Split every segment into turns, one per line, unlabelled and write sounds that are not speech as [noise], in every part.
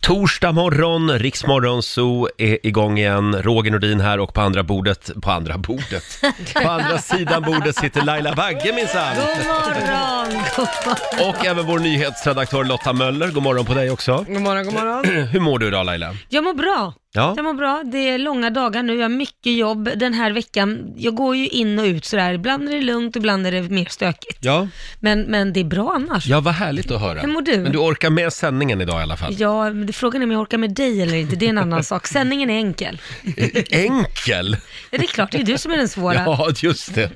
Torsdag morgon, Riksmorgon Zoo är igång igen. Roger Nordin här och på andra bordet, på andra bordet, på andra sidan bordet sitter Laila Bagge minsann.
God morgon! God morgon.
Och även vår nyhetsredaktör Lotta Möller, god morgon på dig också.
God morgon, god morgon.
[clears throat] Hur mår du idag Laila?
Jag mår bra.
Ja,
Jag mår bra. Det är långa dagar nu, jag har mycket jobb den här veckan. Jag går ju in och ut sådär. Ibland är det lugnt, ibland är det mer stökigt.
ja.
Men, men det är bra annars.
ja vad härligt att höra.
Hur mår du?
Men du orkar med sändningen idag i alla fall.
Ja, men det- frågan är om jag orkar med dig eller inte, det är en annan sak. Sändningen är enkel.
Enkel!
Ja, det är klart, det är du som är den svåra.
E-, Ja, just det.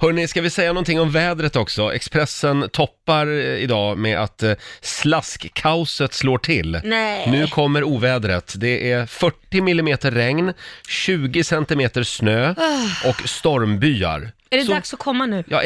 Hörni, ska vi säga någonting om vädret också? Expressen toppar eh, idag med att eh, slaskkaoset slår till.
Nej.
Nu kommer ovädret. Det är 40 millimeter regn, 20 centimeter snö och stormbyar.
Ah. Är det
så,
dags att komma nu?
Ja,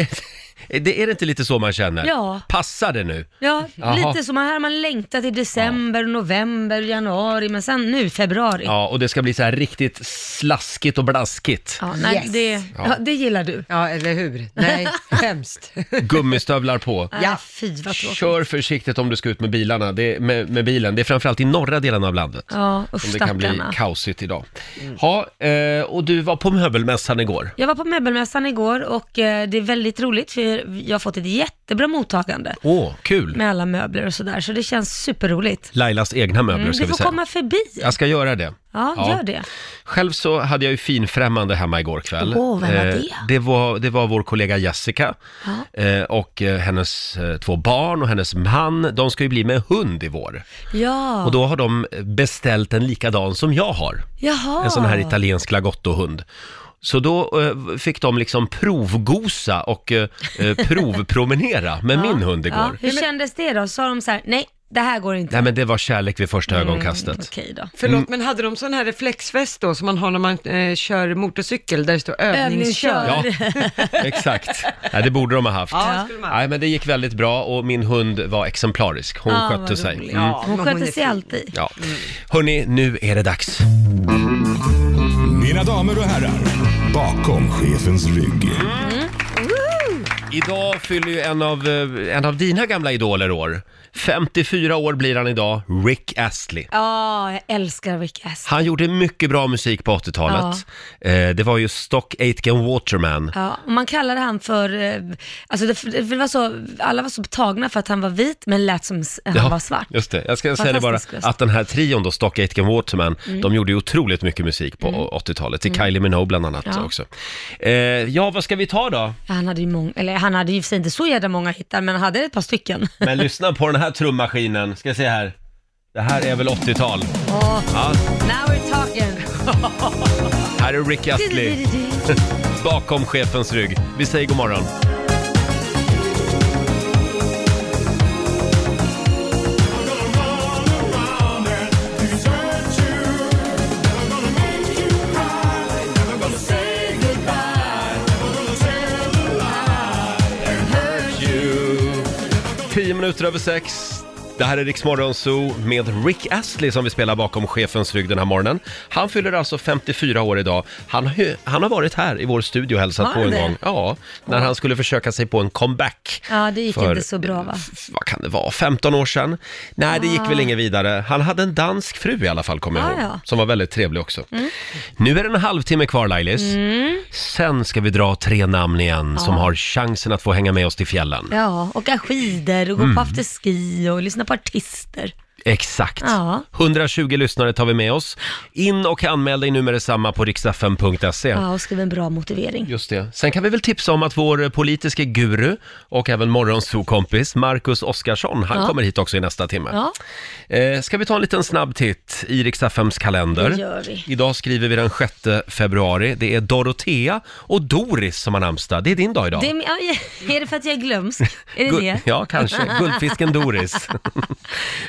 är, det, är det inte lite så man känner?
Ja.
Passar det nu?
Ja,
Jaha.
lite som man här man längtat i december, november, januari, men sen nu februari.
Ja, och det ska bli så här riktigt slaskigt och blaskigt.
Ja, nej,
Yes.
det, ja, det gillar du.
Ja, eller hur?
[laughs]
Nej, hemskt.
Gummistövlar på.
Ja.
Ja.
Äh, fy vad tråkigt.
Kör försiktigt om du ska ut med, bilarna. Det, med, med bilen. Det är framförallt i norra delen av landet.
Ja, usch
Som det kan bli
stackarna.
kaosigt idag. Ha, eh, och du var på möbelmässan igår.
Jag var på möbelmässan igår och eh, det är väldigt roligt för jag har fått ett jättebra mottagande
Åh, kul!
med alla möbler och sådär, så det känns superroligt.
Lailas egna möbler
Mm,
ska
du
vi
får
säga. Alltså,
komma förbi. Ja,
Jag ska göra det.
gör det.
Själv så hade jag ju finfrämmande hemma igår kväll. Eh,
Åh, vem var det?
det, var, det var vår kollega Jessica
Ja.
eh, och eh, hennes eh, två barn och hennes man. De ska ju bli med hund i vår.
Ja,
Och då har de beställt en likadan som jag har.
jaha.
En sån
Ah.
här italiensk lagottohund. Så då eh, fick de liksom provgosa och eh, eh, provpromenera med min hund igår.
Ja, hur kändes det då? Sa de så här, nej, det här går inte.
Nej men det var kärlek vid första ögonkastet. Mm,
Okej då.
Förlåt, men hade de sån här reflexväst då som man har när man eh, kör motorcykel där det står övningskör?
Ja, [laughs] exakt. Nej, det borde de ha haft.
Ja, skulle man.
Nej men det gick väldigt bra och min hund var exemplarisk. Hon
Ja,
skötte
Ah, vad
sig.
roligt.
Mm.
Ja,
Hon
men hon
sköter
är
sig
fin.
alltid.
Ja. Hörni, nu är det dags.
Mina damer och herrar, bakom chefens rygg.
Idag fyller ju en av, eh, en av dina gamla idoler år. 54 år blir han idag, Rick Astley.
Ja, jag älskar Rick Astley.
Han gjorde mycket bra musik på 80-talet. Eh, det var ju Stock Aitken Waterman.
Ja, och man kallade han för, eh, alltså det, det var så, alla var så betagna för att han var vit men lät som s- han
Ja,
var svart.
Just det. Jag ska säga det bara,
Fantastisk röst. Mm.
att den här trion då, Stock Aitken Waterman, de gjorde ju otroligt mycket musik på 80-talet. Till Kylie Minogue bland annat
Ja.
också. Eh, ja, vad ska vi ta då?
Ja, Han hade ju många, eller han hade ju i och för sig inte så jävla många hittar, men han hade ett par stycken. [laughs]
Men lyssna på den här trummaskinen. Ska se här. Det här är väl 80-tal?
Åh,
Ja,
now we're talking!
här är
[laughs]
Rick Astley, bakom chefens rygg. Vi säger god morgon. Tio minuter över sex. Det här är Rix Morgon Zoo med Rick Astley som vi spelar bakom chefens rygg den här morgonen. Han fyller alltså 54 år idag. Han, hö- han har varit här i vår studio och hälsat
Har
på
han
en
det?
gång. Ja, när han skulle försöka sig på en comeback.
[laughs] Ja, det gick
för-
inte så bra va?
f- vad kan det vara, 15 år sedan? Nej, det gick
Ah.
väl inget vidare. Han hade en dansk fru i alla fall, kommer jag
Ah,
ihåg,
ja. Mm.
som var väldigt trevlig också. Nu är det en halvtimme kvar, Lailis. Sen ska vi dra tre namn igen som har chansen att få hänga med oss till fjällen.
Ja, åka skidor och gå
Mm.
på afterski och lyssna på artister.
Exakt.
Ja.
120 lyssnare tar vi med oss. In och anmäl dig nu med detsamma på riksdagen.se.
Ja, och skriva en bra motivering.
Just det. Sen kan vi väl tipsa om att vår politiska guru och även morgonsokompis Marcus Oskarsson, han
Ja.
kommer hit också i nästa timme.
Ja,
Eh, ska vi ta en liten snabb titt i Riks-FMs kalender?
Det gör vi.
Idag skriver vi den 6 februari. Det är Dorotea och Doris som har namnsdag. Det är din dag idag.
det är, min- ja, [laughs] är det för att jag är glömsk? Är det
Gu-
det? [laughs]
Ja, kanske. Guldfisken Doris. [laughs]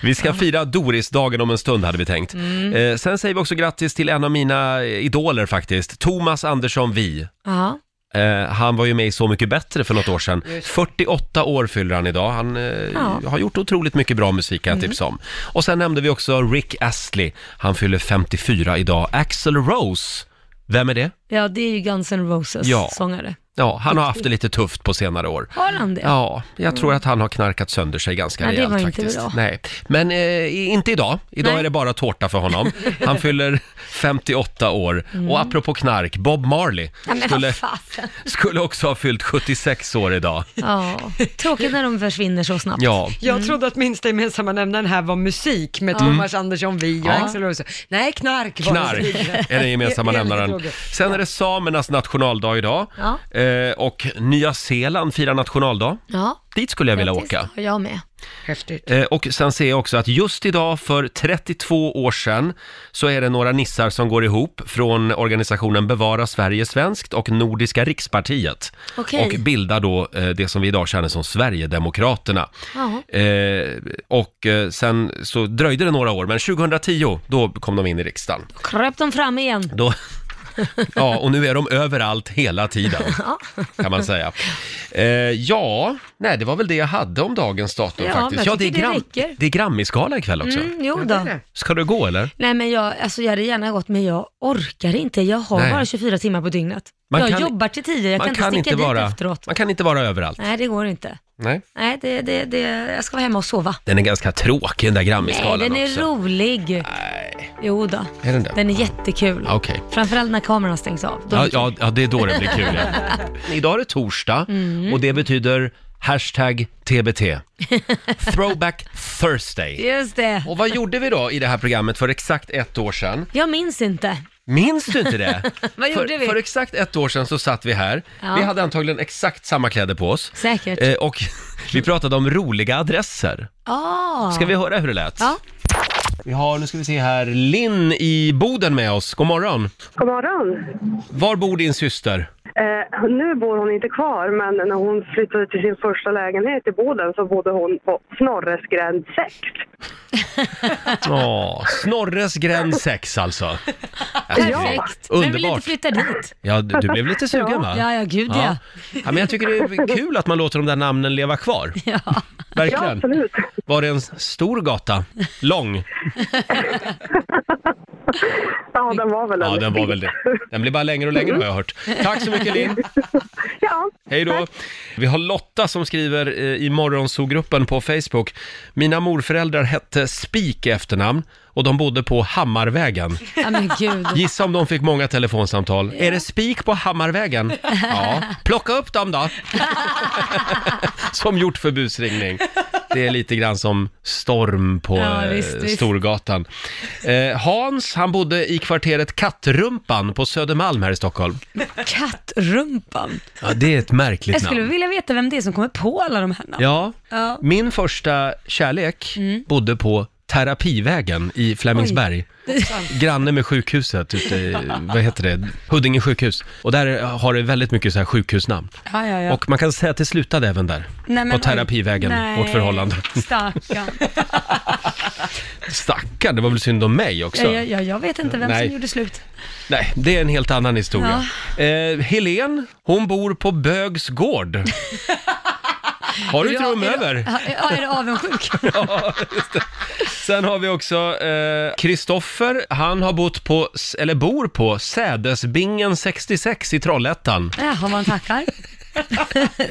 vi ska fira Doris-dagen om en stund, hade vi tänkt.
Mm.
Eh, sen säger vi också grattis till en av mina eh, idoler faktiskt, Thomas Andersson Vi.
Ja,
Eh, han var ju med i Så mycket bättre för något år sedan. 48 år fyller han idag. Han eh,
Ja.
har gjort otroligt mycket bra musik kan jag tipsa om. Och sen nämnde vi också Rick Astley. Han fyller 54 idag. Axel Rose. Vem är det?
ja det är ju Guns N' Roses
Ja.
sångare.
Ja, han har haft det lite tufft på senare år.
Har han det? Mm.
Ja, jag tror att han har knarkat sönder sig ganska
Nej, det var
rejält
inte
faktiskt.
bra.
Nej, men eh, inte idag. Idag
Nej.
är det bara tårta för honom. Han
[laughs]
fyller 58 år. Och apropå knark, Bob Marley
Nej, Mm. men
skulle,
vad fasen.
skulle också ha fyllt 76 år idag.
[laughs] Ja, tråkigt när de försvinner så snabbt. Mm.
Ja,
Jag trodde att minsta gemensamma nämnaren här var musik med Thomas Andersson, vi och
Ja.
Axel Rose. Nej, knark var det.
knark är
[laughs]
den gemensamma
Det [laughs] är
nämnaren.
frågor.
Sen är det samernas nationaldag idag.
Ja.
Eh, och Nya Zeeland firar nationaldag.
Ja,
Dit skulle jag vilja
grattis.
åka.
Ja, Jag med.
Häftigt.
Eh, Och sen ser jag också att just idag för 32 år sedan så är det några nissar som går ihop från organisationen Bevara Sverige svenskt och Nordiska rikspartiet.
Okej.
Och bildar då eh, det som vi idag känner som Sverigedemokraterna.
Jaha.
Eh, och eh, sen så dröjde det några år, men 2010 då kom de in i riksdagen.
Kröp de fram igen?
Då, ja, och nu är de överallt
[laughs]
hela tiden, kan man säga. Eh, ja, nej, det var väl det jag hade om dagens datum
Ja, men
faktiskt.
jag
Ja, det är,
tycker det
gram,
räcker.
det är Grammisgala ikväll också.
Mm, jo
Ja, det är
då.
det.
Ska du gå eller?
Nej men jag, alltså jag hade gärna gått men jag orkar inte. Jag har
Nej.
bara 24 timmar på dygnet.
Man
jag
kan-
jobbar till 10, jag kan inte sticka dit
vara,
efteråt.
man kan inte vara överallt.
Nej det går inte.
Nej.
Nej, det, det, det, jag ska vara hemma och sova.
Den är ganska tråkig den där
Nej,
Grammisgalan
den är
också.
rolig.
Nej,
Jo då.
är den det?
Den är jättekul.
Ja, Okej.
Framförallt när kameran stängs av. Då
Ja, ja, ja, det är då det blir kul. Ja.
[laughs]
Idag är det torsdag
Mm.
och det betyder hashtag
[laughs]
TBT. Throwback Thursday.
Just det.
Och vad gjorde vi då i det här programmet för exakt ett år sedan?
Jag minns inte.
Minns du inte det?
[laughs] Vad
för,
gjorde vi?
för exakt ett år sedan så satt vi här.
Ja.
Vi hade antagligen exakt samma kläder på oss.
Säkert.
Eh, och [laughs] vi pratade om roliga adresser.
Ah.
Ska vi höra hur det lät?
Ja.
Vi har, nu ska vi se här, Linn i Boden med oss. God morgon.
God morgon.
Var bor din syster?
Eh, nu bor hon inte kvar, men när hon flyttade till sin första lägenhet i Boden så bodde hon på Snorresgränd 6.
Ja, Snorres gränd 6 alltså.
Perfekt. Vem vill inte
Underbart.
flytta dit?
Ja, du du blev lite sugen va?
[laughs] Ja, ja, gud ja.
ja, men jag tycker det är kul att man låter de där namnen leva kvar.
[laughs] Ja.
Ja,
Verkligen.
absolut.
Var det en stor gata? Lång?
Ja,
Mm.
den var väl
Ja,
en
den var väl det. Den blir bara längre och längre har jag hört. Tack så mycket Linn.
Ja,
Hej då! Vi har Lotta som skriver eh, i morgonsogruppen på Facebook. Mina morföräldrar hette Spik i efternamn och de bodde på Hammarvägen.
ja, men gud.
Gissa om de fick många telefonsamtal. Är det Spik på Hammarvägen? Ja, plocka upp
[laughs]
dem då! som gjort för busringning. Det är lite grann som storm på
Ja,
eh,
visst, visst.
Storgatan. Eh, Hans, han bodde i kvarteret Kattrumpan på Södermalm här i Stockholm.
Kattrumpan.
Ja, det är ett märkligt
Jag
namn.
skulle vilja veta vem det är som kommer på alla de här namnen.
Ja,
Ja. Mm.
min första kärlek bodde på Terapivägen i Flemingsberg. Granne med sjukhuset ute i, vad heter det, Huddinge sjukhus. Och där har det väldigt mycket så här sjukhusnamn.
Ja, ja, ja.
Och man kan säga att det slutade även där.
Nej, men
på Terapivägen,
oj. Nej,
vårt förhållande.
Stackarn.
Stackarn, det var väl synd om mig också.
Ja, ja, jag vet inte vem
Nej.
som gjorde slut.
Nej, det är en helt annan historia. Eh, Helen, hon bor på
[laughs]
Bögs gård. Har du ett rum
är
över?
Ja, ja, är du avundsjuk?
Sen har vi också eh, Kristoffer. han har bott på, eller bor på, Sädesbingen 66 i Trollhättan.
Jaha, man [laughs] tackar.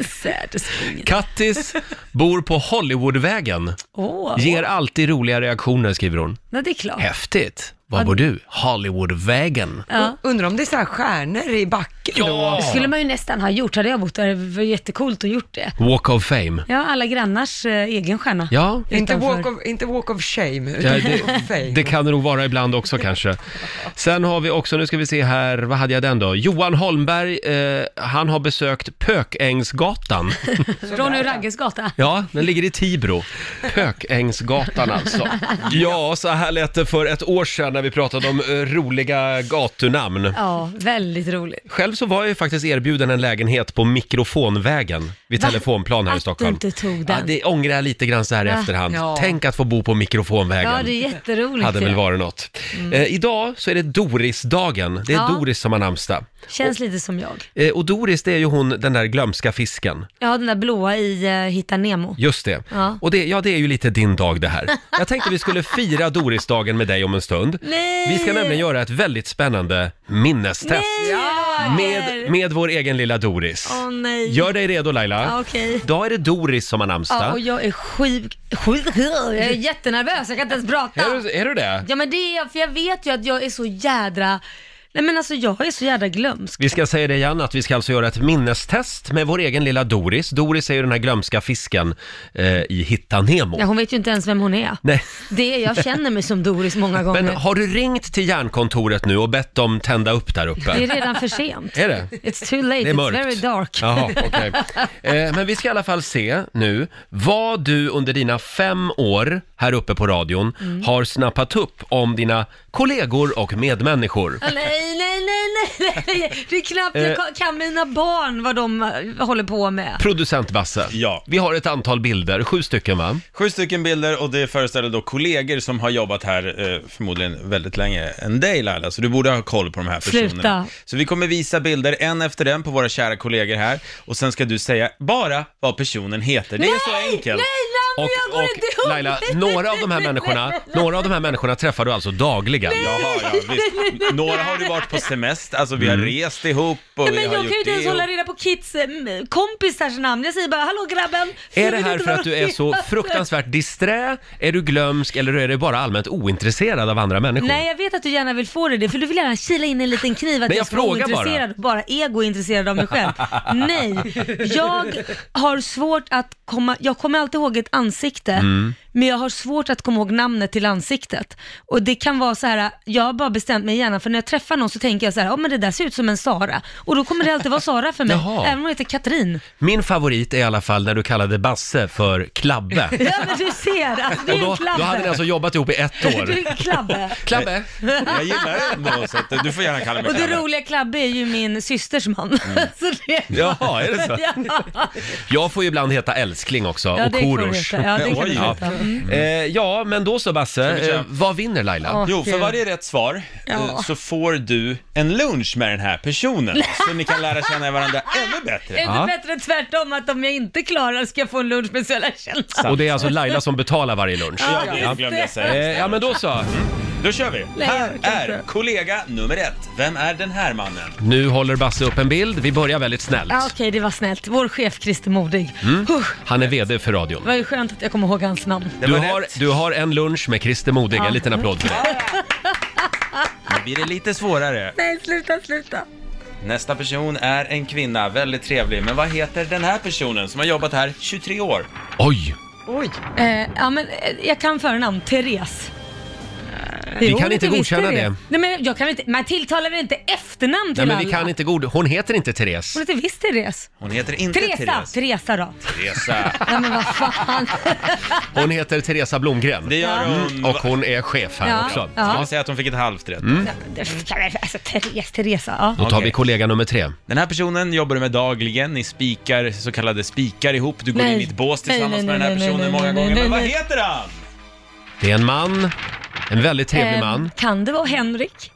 Sädesbingen.
Kattis bor på Hollywoodvägen.
Åh,
Ger alltid roliga reaktioner, skriver hon.
ja, det är klart.
Häftigt. Var bor du? Hollywoodvägen.
Ja.
Undrar om det är så här stjärnor i backen?
Ja!
Det skulle man ju nästan ha gjort. Hade jag bott där, det var jättecoolt att gjort det.
Walk of fame.
Ja, alla grannars eh, egen stjärna.
Ja,
Inte
Utanför.
walk, of, inte walk of shame,
Ja,
utan [laughs] walk of
det,
fame.
det kan det nog vara ibland också kanske. Sen har vi också, nu ska vi se här, vad hade jag den då? Johan Holmberg, eh, han har
[laughs]
besökt Pökängsgatan.
Ronny och Ragges gata. [laughs]
Ja, den ligger i Tibro. Pökängsgatan alltså. Ja, så här lät det för ett år sedan när vi pratade om eh, roliga gatunamn.
Ja, väldigt roligt.
Själv så var jag ju faktiskt erbjuden en lägenhet på Mikrofonvägen vid
Va?
Telefonplan här i
Att du
Stockholm.
inte tog
Ja,
den.
det ångrar jag lite grann så här i
Ah,
efterhand.
ja.
Tänk att få bo på Mikrofonvägen.
Ja, det är jätteroligt.
Hade
ju.
väl varit något. Eh, idag så är det Dorisdagen. Det är
Mm. Ja.
Doris som har namnsdag.
Känns lite som jag.
Eh, och Doris, det är ju hon, den där glömska fisken.
Ja, den där blåa i eh, Hitta Nemo.
Just det.
Ja.
Och det, ja, det är ju lite din dag det här. Jag tänkte vi skulle fira Doris-dagen med dig om en stund.
[laughs] Nej!
Vi ska nämligen göra ett väldigt spännande minnestest
Nej, Roger!
med, med vår egen lilla Doris.
Åh nej.
Gör dig redo Laila.
Ja, okej.
Idag är det Doris som har namnsdag.
Ja, och jag är sjuk, sjuk, [laughs] sjuk. Jag är jättenervös, jag kan inte ens prata.
är, du, är du det?
Ja men det är jag, för jag vet ju att jag är så jädra, nej men alltså jag är så jädra glömsk.
Vi ska säga det igen, att vi ska alltså göra ett minnestest med vår egen lilla Doris. Doris är ju den här glömska fisken eh, i Hitta Nemo.
Nej, hon vet ju inte ens vem hon är.
Nej.
Det är, jag känner mig som Doris många gånger.
Men har du ringt till järnkontoret nu och bett dem tända upp där uppe?
Det är redan för
[laughs]
sent.
Är det?
It's too late,
Det är
it's
mörkt.
very dark.
Jaha, okej.
[laughs]
eh, men vi ska i alla fall se nu vad du under dina fem år här uppe på radion
Mm.
har snappat upp om dina kollegor och medmänniskor.
Ah, Nej, nej, nej, nej, nej, det är knappt jag
Eh.
ka- kan mina barn vad de eh, håller på med.
Producent Basse,
Ja.
vi [laughs] har ett antal bilder, sju stycken va?
Sju stycken bilder och det föreställer då kollegor som har jobbat här eh, förmodligen väldigt länge än dig Laila, så du borde ha koll på de här personerna.
Sluta.
Så vi kommer visa bilder en efter en på våra kära kollegor här och sen ska du säga bara vad personen heter. Det är så
Nej,
enkelt.
Lamme, jag går inte ihop.
Laila, några av
[laughs]
de här människorna, några av de här människorna träffar du alltså dagligen.
Jaha, ja, visst. Några har du varit på semester, alltså vi har
Mm.
rest ihop och
Nej,
vi
men
har
jag kan ju
gjort
inte ens
det.
hålla
Och...
reda på kids eh, m- kompisars namn. Jag säger bara, hallå grabben.
Är
Jag
det
vet
här
inte
för
vad
att
de
du
[laughs]
är så
heter.
fruktansvärt disträ? Är du glömsk eller är du bara allmänt ointresserad av andra människor?
Nej, jag vet att du gärna vill få det, för du vill gärna kila in en liten kniv att
Men jag
ska
frågar
vara ointresserad och bara egointresserad av mig själv. Nej, jag har svårt att komma, jag kommer alltid ihåg ett ansikte,
Mm.
men jag har svårt att komma ihåg namnet till ansiktet. Och det kan vara så här, jag har bara bestämt mig gärna, för när jag träffar någon så tänker jag så här, ja men det där ser ut som en Sara. Och då kommer det alltid vara Sara för mig,
Jaha.
även om jag heter Katrin.
Min favorit är i alla fall när du kallade Basse för Klabbe.
[laughs] Ja men du ser, alltså, det är
Och då,
en klabbe.
då hade ni alltså jobbat ihop i ett
[laughs] Du
år.
är en klabbe.
Klabbe?
Jag gillar det ändå, så att, du får gärna kalla mig
Och det
Kalle.
roliga Klabbe är ju min systers man. [laughs] så det...
Mm. Jaha, är det så?
[laughs] Ja.
Jag får ju ibland heta älskling också,
Ja,
och
det kan du
Korosh.
veta. Ja, det kan du
[laughs] Oj.
veta. Mm.
Eh, ja, men då så Basse,
vi köra?
eh, vad vinner Laila?
Ja.
Jo, för
Gud.
varje rätt svar eh,
Ja.
så får du en lunch med den här personen, så ni kan lära känna varandra ännu
Är
bättre.
det
Ja.
bättre tvärtom att om jag inte klarar ska jag få en lunch med så jag lär känna?
Och det är alltså Laila som betalar varje lunch.
Ja,
Ja,
det
just
glömde
det.
jag
Eh,
säga. Mm.
ja men då så.
Då kör vi.
Nej,
Här
jag kan
är
inte.
kollega nummer ett. Vem är den här mannen?
Nu håller Basse upp en bild. Vi börjar väldigt
Ja,
snällt. Mm.
okej, det var snällt. Vår chef Christer Modig. Usch,
Han är VD för radion.
det var ju skönt att jag kommer ihåg hans namn.
Det
Du
var
har,
rätt.
du har en lunch med Christer Modig. En liten applåd för
Mm.
det.
Nu blir det lite svårare.
Nej, sluta, sluta.
Nästa person är en kvinna, väldigt trevlig. Men vad heter den här personen som har jobbat här 23 år?
Oj!
Oj,
Eh, ja, men eh, jag kan förnamn.
Eh,
Therese.
Vi
Jo,
kan
det
inte
visste
godkänna
vi.
det.
Nej, men jag kan inte, man tilltalar väl inte efternamn till
Nej men vi
alla?
kan inte god... Hon heter inte Therese.
Hon heter visst Therese.
Hon heter inte
Teresa!
Therese.
Teresa
[laughs]
då.
Teresa.
Ja, men vad fan.
Hon heter Teresa Blomgren.
Det gör hon.
Mm, Och hon är chef här
Ja,
också. Mm.
Ska
ja.
man säga att hon fick ett halvt rätt?
Alltså, Therese, Teresa. Ja.
Då tar vi
Okej.
kollega nummer tre.
Den här personen jobbar du med dagligen, ni spikar så kallade spikar ihop, du går
Nej.
in i ett bås
Nej,
tillsammans
nej,
med den här
nej, nej, nej,
personen många
nej,
gånger.
nej,
Men vad
nej.
heter han?
Det är en man, en väldigt trevlig
Eh,
man.
Kan det vara Henrik?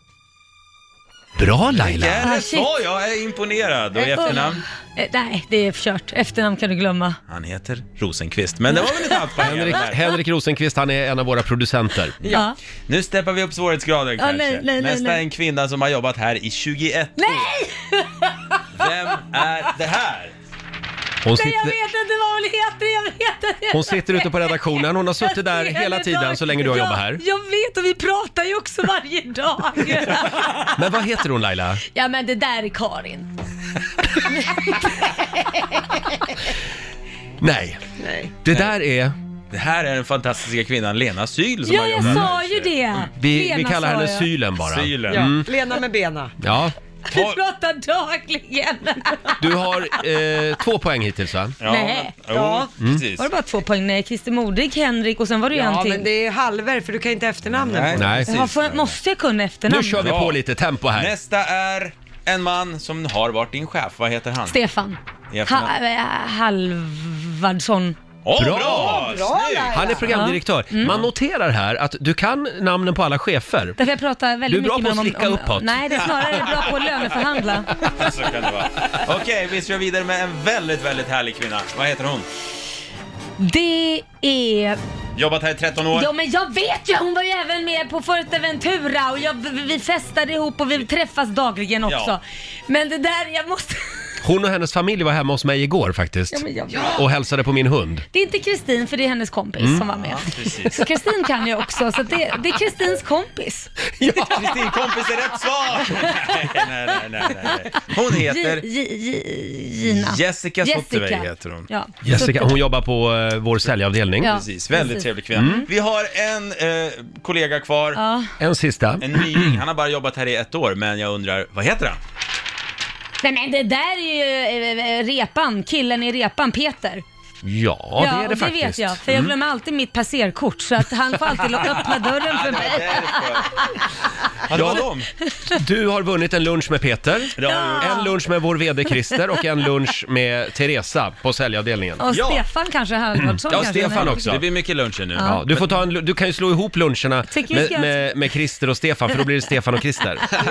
Bra Laila!
Ja,
Ah,
det
shit.
sa jag, jag är imponerad. Och i
Eh,
efternamn?
Eh, nej, det är kört. Efternamn kan du glömma.
Han heter Rosenqvist. Men det var väl ett halvt poäng i alla
Henrik,
fall.
Henrik Rosenqvist, han är en av våra producenter.
Ja.
Nu steppar vi upp svårighetsgraden kanske.
nej, nej, nej,
Nästa
nej.
är en kvinna som har jobbat här i 21 nej! år. Vem är det här?
Hon
Nej, jag
sitter,
vet inte vad hon heter, jag vet inte.
hon sitter ute på redaktionen, hon har suttit där
Jag ser
hela
henne
tiden
dag-
så länge du har
Ja,
jobbat här.
Jag vet och vi pratar ju också varje
[laughs]
dag.
Men vad heter hon Laila?
ja men det där är
[laughs]
Karin.
Nej,
nej.
det där är...
Det här är den fantastiska kvinnan Lena Syl som
Ja
har
jag
jobbat här.
sa ju det.
Mm. Vi,
Lena
vi kallar
sa
henne
jag.
Sylen bara. Mm.
Sylen.
Ja. Lena med bena.
Ja,
Vi pratar dagligen.
du har eh, två poäng hittills va? Mm.
Ja,
Nej. Mm.
Jo,
Ja.
precis.
Var det bara två poäng? Nej, Christer Modig, Henrik och sen var det ju
Ja,
en till.
men det är halver för du kan inte efternamnen.
Nej.
på.
Nej.
Jaha, får, måste jag kunna efternamn?
Nu kör vi
Bra.
på lite tempo här.
Nästa är en man som har varit din chef. Vad heter han?
Stefan.
I efternamn.
Ha, eh, Halvardsson.
Åh,
Bra!
bra! Snyggt!
Han är programdirektör.
Mm.
Man noterar här att du kan namnen på alla chefer.
Därför jag pratar väldigt
Du är
mycket
bra på att
med honom.
slicka uppåt.
Nej, det är snarare bra på att
[laughs]
löneförhandla.
Så kan det vara. Okej, vi kör vidare med en väldigt, väldigt härlig kvinna. Vad heter hon?
Det är...
Jobbat här i 13 år.
Ja men jag vet ju! Hon var ju även med på Fuerteventura och jag, vi festade ihop och vi träffas dagligen också.
Ja.
Men det där, jag måste... [laughs]
Hon och hennes familj var hemma hos mig igår faktiskt.
Ja, men jag vet.
Och hälsade på min hund.
Det är inte Kristin för det är hennes kompis som var med.
Mm. precis.
Så Kristin kan ju också, så det, det är Kristins kompis.
Kristin kompis är
[laughs]
rätt svar! Nej, nej, nej, nej, nej. Hon
J,
heter
J, J, Gina.
Jessica Sottevej
Jessica.
heter hon.
Ja.
Jessica, hon jobbar på eh, vår säljavdelning. Mm.
Ja.
Precis, väldigt
Precis.
trevlig kvinna. Vi har en eh, kollega kvar,
Ja.
En sista.
en nying. Han har bara jobbat här i ett år, men jag undrar, vad heter han?
Nej men det där är ju eh, eh, repan, killen i repan, Peter.
Ja, det är
och
det faktiskt. Mm.
vet jag, för jag glömmer alltid mitt passerkort så att han får alltid
[laughs]
lo- öppna dörren för mig.
Ja, det var
[laughs]
dem.
Du har vunnit en lunch med Peter.
Det har vi gjort.
En lunch med vår VD Christer och en lunch med Teresa på säljavdelningen.
Och
Ja.
Stefan kanske [clears throat] Halvardsson
Ja,
kanske.
Stefan
men-
också.
Det blir mycket luncher nu.
Ja, du, får ta en, lu- du kan ju slå ihop luncherna
Tycker vi
med,
ska-
med, med Christer och Stefan, för då blir det Stefan och Christer.
Ja,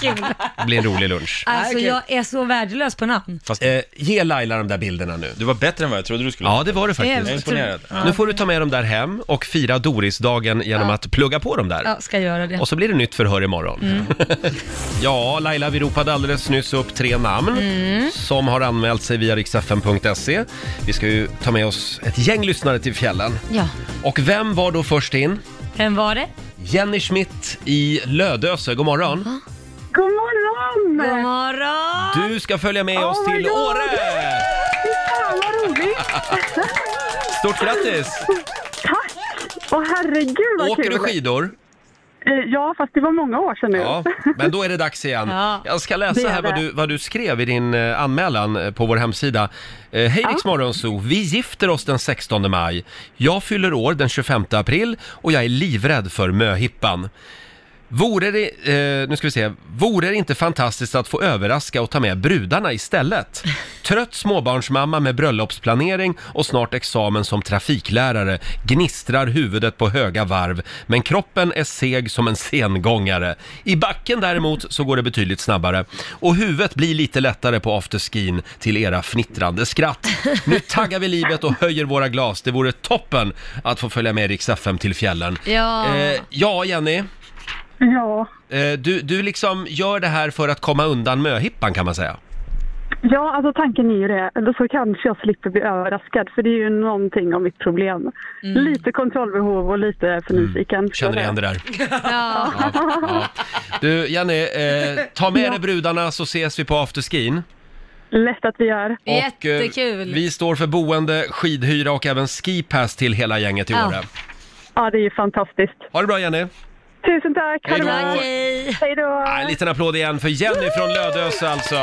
[laughs]
[laughs]
kul.
Det blir en rolig lunch.
Alltså jag är så värdelös på namn.
Fast
Eh, ge Laila de där bilderna nu.
du var bättre än vad jag trodde du skulle
Ja, det var det
Jag
faktiskt.
Jag är imponerad. Ja.
Nu får du ta med dem där hem och fira Dorisdagen genom att plugga på dem där.
Ja, Mm. ska göra det.
Och så blir det nytt förhör imorgon. [laughs] ja, Laila, vi ropade alldeles nyss upp tre namn
Mm.
som har anmält sig via riksfn.se. Vi ska ju ta med oss ett gäng lyssnare till fjällen.
Ja,
Och vem var då först in?
vem var det?
Jenny Schmidt i Lödöse, god morgon.
God morgon!
God morgon!
Du ska följa med oss
my
till
God!
Åre!
Fy fan vad roligt!
[laughs] Stort grattis!
Tack! Åh herregud vad
Åker
kul!
du skidor?
Eh, Ja, fast det var många år sedan nu.
Ja, men då är det dags igen.
Ja.
Jag ska
Det
läsa
är
här vad
det.
du, vad du skrev i din eh, anmälan eh, på vår hemsida. Eh, Hej Rix Morgonzoo, vi gifter oss den 16 maj. Jag fyller år den 25 april och jag är livrädd för möhippan. Vore det, eh, nu ska vi se, vore det inte fantastiskt att få överraska och ta med brudarna istället? Trött småbarnsmamma med bröllopsplanering och snart examen som trafiklärare gnistrar huvudet på höga varv, men kroppen är seg som en sengångare. I backen däremot så går det betydligt snabbare och huvudet blir lite lättare på afterskin till era fnittrande skratt. Nu taggar vi livet och höjer våra glas. Det vore toppen att få följa med Rix FM till fjällen.
Ja.
Eh, ja, Jenny.
[laughs] Ja.
Eh, Du, du liksom gör det här för att komma undan möhippan kan man säga.
Ja, alltså tanken är ju det. Eller så kanske jag slipper bli överraskad, för det är ju någonting av mitt problem.
Mm.
Lite kontrollbehov och lite för nyfiken.
Känner igen det där.
Ja.
Ja. Du, Jenny, eh, ta med dig brudarna så ses vi på afterskin.
Lätt att vi gör.
Och, eh,
Jättekul.
vi står för boende, skidhyra och även skipass till hela gänget i
Ja.
Åre.
Ja, det är ju fantastiskt.
Ha det bra Jenny!
Tusen tack! Ha det bra!
Tack, hej.
Hej då!
En liten applåd igen för Jenny från Lödöse alltså!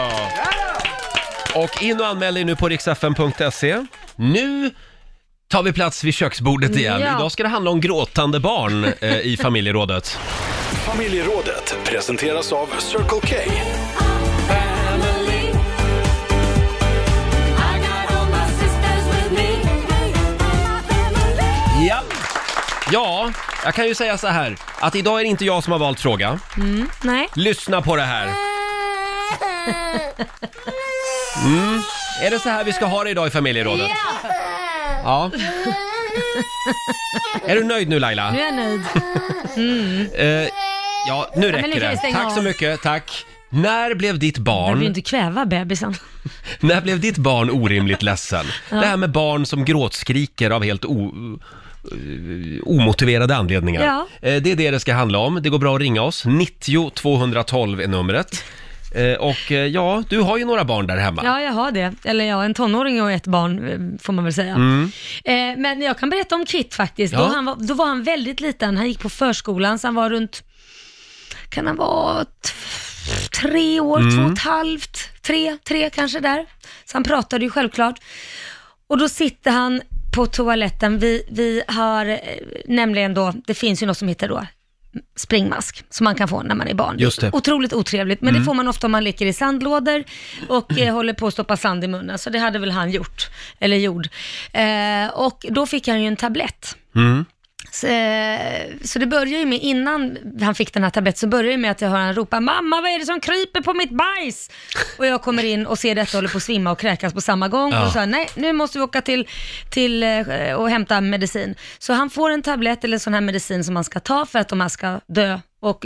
Och in och anmäl dig nu på riksfn.se. Nu tar vi plats vid köksbordet igen.
Ja.
Idag ska det handla om gråtande barn eh, i familjerådet.
Familjerådet presenteras av Circle K.
Ja. ja, jag kan ju säga så här att idag är det inte jag som har valt fråga.
Mm, Nej.
Lyssna på det här.
[laughs]
Mm. Mm. Är det så här vi ska ha det idag i familjerådet? Ja. Är du nöjd nu Laila?
Nu är jag nöjd. Mm.
Eh, ja,
men
nu
nu
räcker
kan vi
det.
stänga
Tack så
av.
mycket, tack. När blev ditt
Jag vill ju
barn,
inte kväva bebisen.
när blev ditt barn orimligt ledsen? Det här med barn som gråtskriker av helt o, eh, omotiverade anledningar.
Ja.
Eh, Det är det det ska handla om. Det går bra att ringa oss. 90 212 är numret. Eh, Och eh, ja, du har ju några barn där hemma.
Ja, jag har det. Eller ja, en tonåring och ett barn eh, får man väl säga.
Mm.
Eh, men jag kan berätta om Kit faktiskt. Då,
Ja.
han var, då var han väldigt liten. Han gick på förskolan, så han var runt, kan han vara t- tre år,
Mm.
två och ett halvt, tre, tre kanske där. Så han pratade ju självklart. Och då sitter han på toaletten. Vi, vi har eh, nämligen då, det finns ju något som heter då springmask som man kan få när man är barn.
Just det.
Otroligt otrevligt, men det får man ofta om man leker i sandlådor och eh, håller på att stoppa sand i munnen, så det hade väl han gjort, eller gjord. Eh, och då fick han ju en tablett.
Mm.
Så, eh, så det börjar ju med, innan han fick den här tabletten, så börjar det med att jag hör han ropa “Mamma, vad är det som kryper på mitt bajs?” Och jag kommer in och ser detta och håller på att svimma och kräkas på samma gång.
Ja.
Och så här, nej, nu måste vi åka till, till eh, och hämta medicin. Så han får en tablett eller sån här medicin som man ska ta för att de här ska dö. Och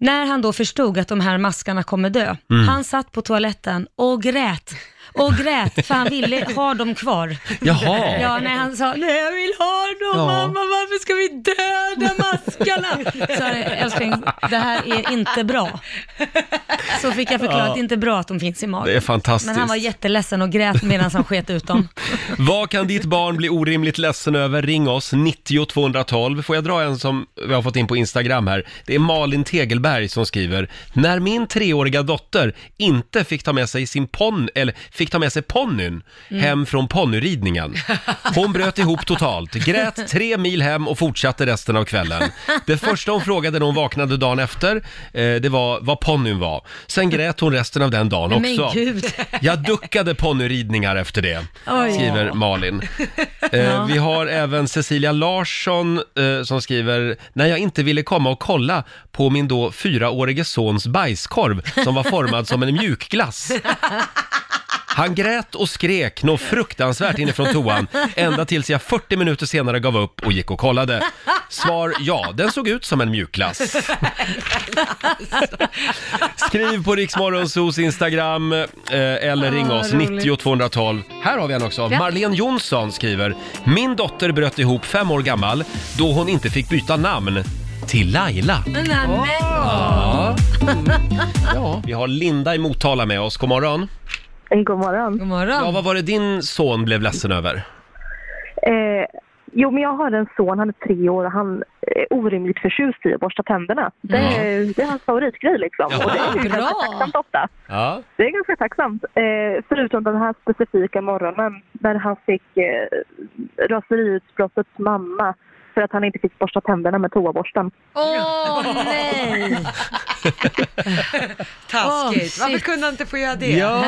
när han då förstod att de här maskarna kommer dö,
Mm.
han satt på toaletten och grät. Och grät, för han ville ha dem kvar.
Jaha.
Ja, när han sa nej jag vill ha dem
Ja.
mamma, varför ska vi döda [laughs] maskarna? Så älskling, det här är inte bra. Så fick jag förklara att det inte är bra att de finns i magen.
Det är fantastiskt.
Men han var jätteledsen och grät medan han sket ut dem.
Vad kan ditt barn bli orimligt ledsen över? Ring oss, 90 212. Får jag dra en som vi har fått in på Instagram här? Det är Malin Tegelberg som skriver. När min treåriga dotter inte fick ta med sig sin pon eller fick ta med sig ponnyn
Mm.
hem från ponnyridningen. Hon bröt ihop totalt, grät tre mil hem och fortsatte resten av kvällen. Det första hon frågade när hon vaknade dagen efter, eh, det var vad ponnyn var. Sen grät hon resten av den dagen
Men
också.
gud.
Jag duckade ponnyridningar efter det,
Oj.
skriver Malin. Eh, vi har även Cecilia Larsson eh, som skriver, när jag inte ville komma och kolla på min då fyraårige sons bajskorv som var formad som en mjukglass. Han grät och skrek något fruktansvärt inifrån toan ända tills jag 40 minuter senare gav upp och gick och kollade. Svar ja, den såg ut som en mjukglass. Skriv på Riksmorgonsos Instagram eh, eller
Ah,
ring oss 90 212. Här har vi en också. Marlene Jonsson skriver. Min dotter bröt ihop fem år gammal då hon inte fick byta namn till Laila.
Men, men,
Ja. Vi har Linda i Motala med oss. God morgon.
Eh, God morgon.
God
Ja,
morgon.
vad var det din son blev ledsen över?
[laughs] Eh, jo, men jag har en son, han är tre år och han är orimligt förtjust i att borsta tänderna. Det,
Mm.
är- det är hans favoritgrej liksom.
Ja.
Och det är ju
Bra.
ganska tacksamt ofta.
Ja.
Det är ganska tacksamt. Eh, förutom den här specifika morgonen när han fick eh, raseriutbrottets mamma för att han inte fick borsta tänderna
[laughs]
med toaborsten.
Åh nej! Åh,
[laughs] Taskigt.
shit.
Varför kunde han inte få göra det?
Ja.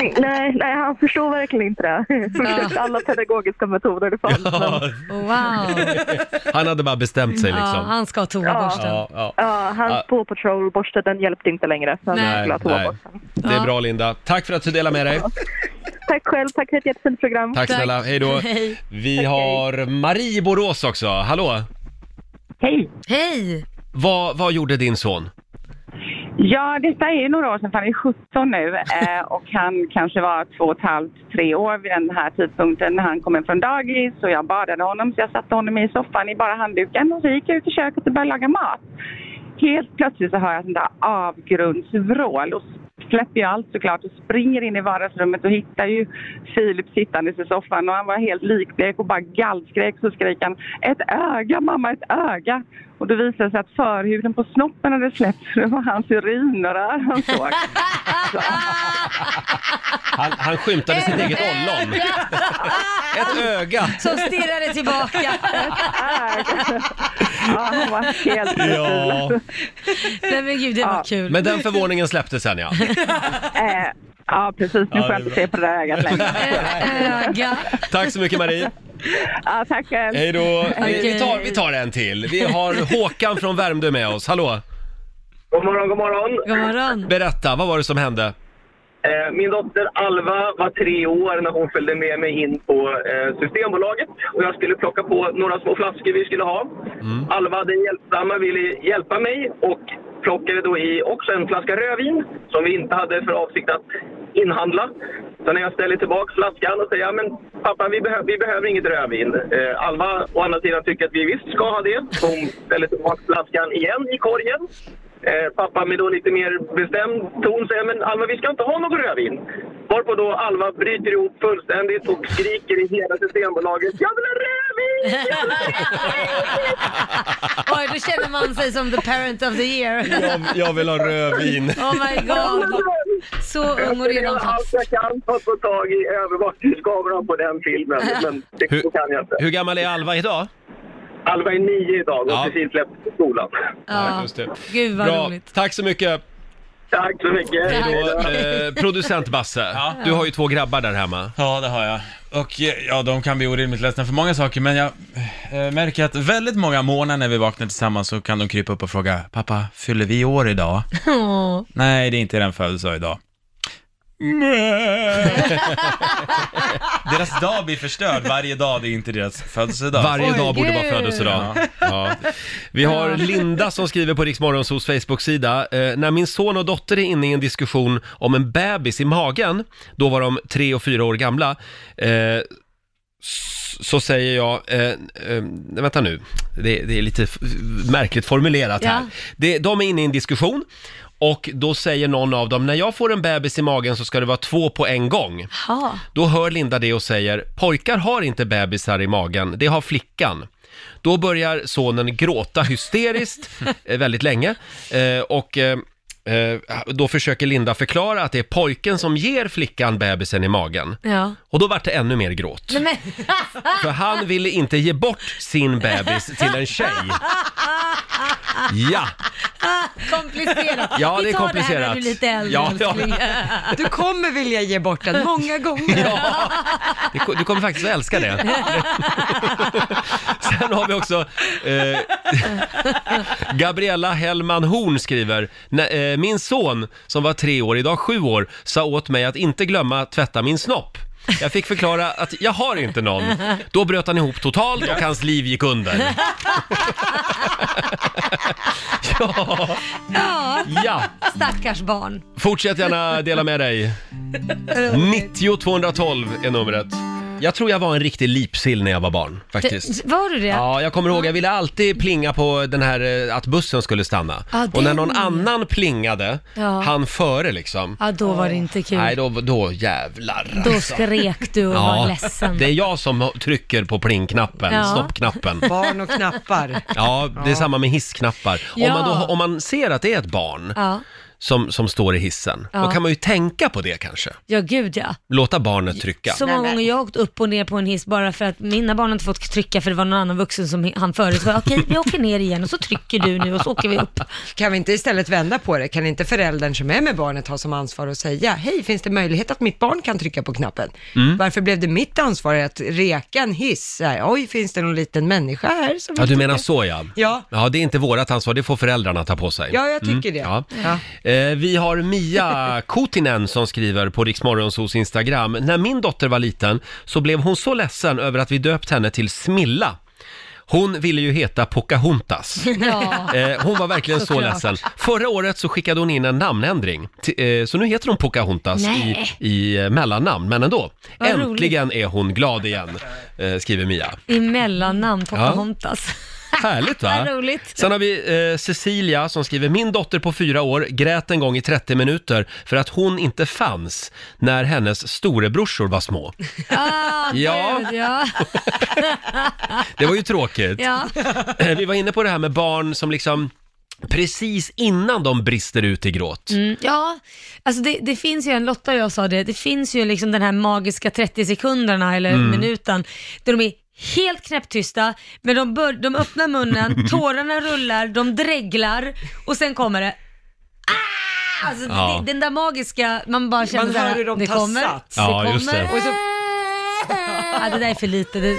nej, nej, han förstår verkligen inte det. Försökte [laughs] alla pedagogiska metoder det fanns. men-
Wow.
[laughs] Han hade bara bestämt sig
Ja,
liksom.
han ska ha toaborsten.
Ja, ja.
Ja,
Ah.
hans Paw Patrol-borste den hjälpte inte längre. Så han
Nej.
skulle ha
Nej.
toaborsten.
Det är bra Linda. Tack för att du delade med dig.
Tack själv, tack för ett jättefint program.
Tack snälla, hej då.
Mm, [laughs] Hej.
Vi har Marie i Borås också. Hallå!
Hej!
Hej!
Vad, vad gjorde din
[laughs]
son?
Ja, detta är ju några år sedan, för han är 17 nu
[laughs]
eh, och han kanske var två och ett halvt, tre år vid den här tidpunkten när han kom in från dagis och jag badade honom så jag satte honom i soffan i bara handduken och så gick jag ut i köket och började laga mat. Helt plötsligt så hör jag sånt där avgrundsvrål och släpper ju allt såklart och springer in i vardagsrummet och hittar ju Filip sittandes i soffan och han var helt likblek och bara gallskrek så skrek han ett öga mamma, ett öga. Och då visade det sig att förhuden på snoppen hade släppt så det var hans urinrör
[laughs]
han såg.
Han, han skymtade sitt eget ollon.
[laughs]
Ett öga!
Som stirrade tillbaka.
Ja, han var helt
Ja.
Nej men gud, det var kul.
Men den förvåningen släppte sen ja.
Eh, ja, precis. Nu
Ja,
får
det är
jag inte
bra.
se på det där ögat längre.
Ö- Öga.
Tack så mycket Marie.
Ja, tack själv.
Hej då. Vi, vi,
Okej.
tar, vi tar en till. Vi har Håkan från Värmdö med oss. Hallå!
God morgon, god morgon.
God morgon.
Berätta, vad var det som hände?
Eh, Min dotter Alva var tre år när hon följde med mig in på eh, Systembolaget och jag skulle plocka på några små flaskor vi skulle ha. Alva den hjälpsamma ville hjälpa mig och plockade då i också en flaska rödvin som vi inte hade för avsikt att inhandla. Så när jag ställer tillbaka flaskan och säger "Ja, men pappa vi, behö- vi behöver inget rödvin. Eh, Alva å andra sidan tycker att vi visst ska ha det. Så Hon ställer tillbaka flaskan igen i korgen. Eh, pappa med då lite mer bestämd ton säger men Alva vi ska inte ha något rödvin. Varpå då Alva bryter ihop fullständigt och skriker i hela Systembolaget Jag vill ha rödvin!
[laughs] Oj, då känner man sig som the parent of the year.
Jag, vill ha rödvin.
Oh my god. Så ung och
Jag ska
redan
göra allt
fast.
jag kan för att få tag i
[laughs]
övervakningskameran på den filmen men det
Hur-
kan jag inte.
Hur gammal är Alva idag?
Alva är nio idag och
Ja.
precis lämnat skolan.
Ja, just det.
Gud vad
Bra,
roligt.
tack så mycket.
Tack så mycket.
Hej då. Eh, producent Basse, du har ju två grabbar där hemma.
Ja, det har jag. Och eh, ja, de kan bli orimligt ledsna för många saker, men jag eh, märker att väldigt många morgnar när vi vaknar tillsammans så kan de krypa upp och fråga Pappa, fyller vi år idag?
Åh.
Nej, det är inte den födelsedag idag. deras dag blir förstörd varje dag, det är inte deras födelsedag.
Varje
Oj,
dag borde
gud.
vara födelsedag. Ja. Vi har Linda som skriver på Riksmorgonsos Facebook-sida. Eh, när min son och dotter är inne i en diskussion om en bebis i magen, då var de tre och fyra år gamla, eh, s- så säger jag, eh, eh, vänta nu, det, det är lite f- märkligt formulerat här.
Ja.
Det, de är inne i en diskussion och då säger någon av dem, när jag får en bebis i magen så ska det vara två på en gång.
Ja.
Då hör Linda det och säger “Pojkar har inte bebisar i magen, det har flickan”. Då börjar sonen gråta hysteriskt eh, väldigt länge eh, och eh, eh, då försöker Linda förklara att det är pojken som ger flickan bebisen i magen.
Ja.
Och då vart det ännu mer gråt.
Nej, men,
[laughs] För han ville inte ge bort sin bebis till en tjej. Ja,
komplicerat.
ja det
Vi
är
tar det här
komplicerat.
när du är lite äldre
ja, ja,
älskling.
[laughs] Du kommer vilja ge bort den många gånger.
Det ko- Du kommer faktiskt att älska det. Sen har vi också eh, [laughs] Gabriella Hellman Horn skriver. "Nä- eh, Min son som var tre år, idag sju år, sa åt mig att inte glömma tvätta min snopp. Jag fick förklara att jag har inte någon. Då bröt han ihop totalt och hans liv
[laughs]
gick under. ja,
Ja,
ja.
stackars barn.
Fortsätt gärna dela med dig. 90 212 är numret. Jag tror jag var en riktig lipsill när jag var barn, faktiskt.
Var du det?
Ja, jag kommer ihåg, jag ville alltid plinga på den här eh, att bussen skulle stanna.
Ja,
Och när
den.
någon annan plingade,
Ja.
han före liksom.
Ja, då var det inte kul.
Nej, då, då jävlar. alltså.
Då skrek du och var ledsen.
det är jag som trycker på plingknappen,
Ja. [laughs]
stoppknappen.
Barn och knappar.
Ja, det är samma med hissknappar. Om,
Ja.
man då, om man ser att det är ett barn
Ja.
som, som står i hissen, då
Ja.
kan man ju tänka på det kanske.
ja, gud ja.
Låta barnet
Typ
trycka.
Så många gånger jag har åkt upp och ner på en hiss bara för att mina barn har inte fått trycka för det var någon annan vuxen som han förut. Så jag, Okej, vi åker ner igen och så trycker du nu och så åker vi upp.
Kan vi inte istället vända på det? Kan inte föräldern som är med barnet ha som ansvar och säga, hej, finns det möjlighet att mitt barn kan trycka på knappen?
Mm.
Varför blev det mitt ansvar att reka en hiss? Så här, Oj, finns det någon liten människa här? [laughs] Som
Ja,
vill
du menar
trycka?"
så ja.
Ja.
Ja, det är inte vårat ansvar, det får föräldrarna ta på sig. Mm.
Ja, jag tycker det.
Ja.
Ja.
Eh, vi har Mia Kotinen som skriver på Riksmorgonsos Instagram. När min dotter var liten så blev hon så ledsen över att vi döpt henne till Smilla. Hon ville ju
[laughs]
heta Pocahontas.
Ja.
Eh, hon var verkligen så
Såklart.
ledsen. Förra året så skickade hon in en namnändring. T- eh, så nu heter hon Pocahontas i,
Nej.
i eh, mellannamn, men ändå.
Vad roligt.
Äntligen är hon glad igen, eh, skriver Mia.
I mellannamn Pocahontas.
Härligt va?
[laughs] Vad roligt.
Sen har vi eh, Cecilia som skriver, min dotter på fyra år grät en gång i 30 minuter för att hon inte fanns när hennes storebrorsor var små.
Ah,
Ja.
Gud, ja.
Det var ju tråkigt.
[laughs] ja.
Eh, [clears throat] Vi var inne på det här med barn som liksom precis innan de brister ut i gråt.
Mm, ja, alltså det, det finns ju en, Lotta och jag sa det, det finns ju liksom den här magiska 30 sekunderna eller
Mm.
minuten där de är helt knäpptysta, men de, bör, de
[laughs]
öppnar munnen, tårarna rullar, de dreglar och sen kommer det. Ah! Alltså
Ja.
det, den där magiska, man bara känner
Man
så här,
hör hur de
det
tar
kommer,
sats."
det
Ja,
kommer.
just det.
Och så-
Ja, det där är för lite. Det...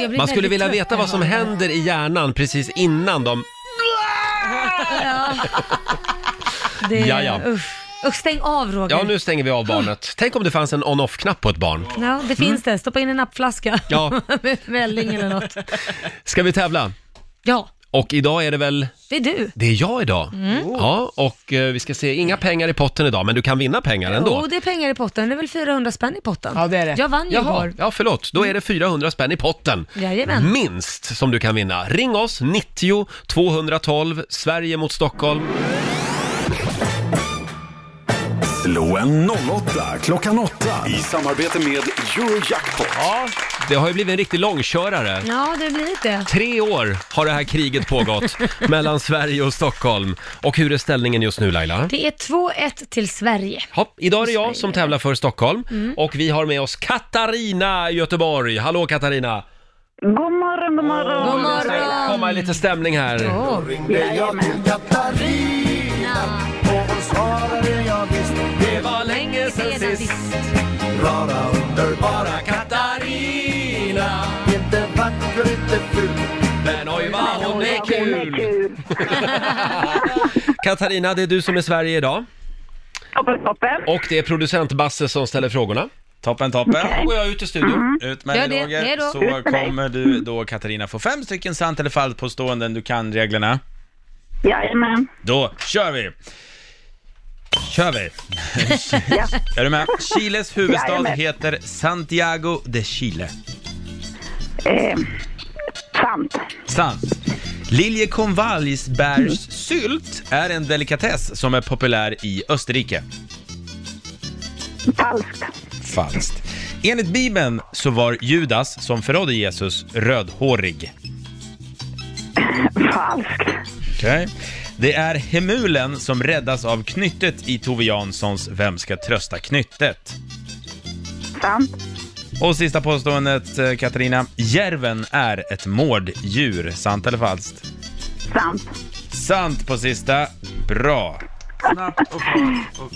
Jag blir
Man skulle
väldigt
vilja
trött
veta
när
vad
jag
som
hör det.
händer i hjärnan precis innan de...
Ja. Det,
Ja, ja.
Usch. Usch, stäng av Roger.
Ja, nu
Ah.
stänger vi av barnet. Tänk om det fanns en on-off-knapp på ett barn.
Ja, det finns det. Stoppa in en nappflaska
Mm. Ja.
[laughs] med välling eller något.
Ska vi tävla?
Ja,
Och idag är det väl
det är du. Mm.
Det är jag idag. Ja, och eh, vi ska se, inga pengar i potten idag, men du kan vinna pengar ändå.
Jo, det är pengar i potten. Det är väl 400 spänn i potten?
Ja, det är det.
Jag vann ju
Jaha,
igår.
ja förlåt. Då är det 400 spänn i potten.
Mm.
Mm.
Jajamän.
Minst som du kan vinna. Ring oss, 90 212, Sverige mot Stockholm.
Slå en 08 klockan 8 i samarbete med Eurojackpot.
Ja, det har ju blivit en riktig långkörare.
Ja, det blir det.
Tre år har det här kriget
[laughs]
pågått mellan Sverige och Stockholm. Och hur är ställningen just nu Laila?
Det är 2-1 till Sverige.
Hopp, idag är det jag som
Mm.
tävlar för Stockholm och vi har med oss Katarina i Göteborg. Hallå Katarina!
God morgon, god morgon.
God
Det
morgon!
kommer lite stämning här.
Åh,
Det var länge
sedan sist.
Katarina. Men oj vad hon är kul! Katarina, det är du som är Sverige idag.
Toppen, toppen.
Och det är producent Basse som ställer frågorna.
Toppen, toppen. Då går jag ut i studion.
Mm-hmm.
Ut med
Gör
dig
det. Hej
Roger.
då.
Så
Ut med dig.
kommer du då Katarina få fem stycken sant eller falskt påståenden. Du kan reglerna. [laughs]
Jajamän.
Då kör vi! Kör vi! Är du med? Chiles huvudstad
Jajamän.
heter Santiago de Chile.
Eh, sant.
Sant. Liljekonvaljsbärssylt är en delikatess som är populär i Österrike.
Falskt.
Falskt. Enligt Bibeln så var Judas, som förrådde Jesus, rödhårig.
Falskt.
Okej. Det är Hemulen som räddas av knyttet i Tove Janssons Vem ska trösta knyttet?
Sant.
Och sista påståendet, eh, Katarina. Järven är ett mårddjur. Sant eller falskt?
Sant.
Sant på sista. Bra. Snabbt och klart och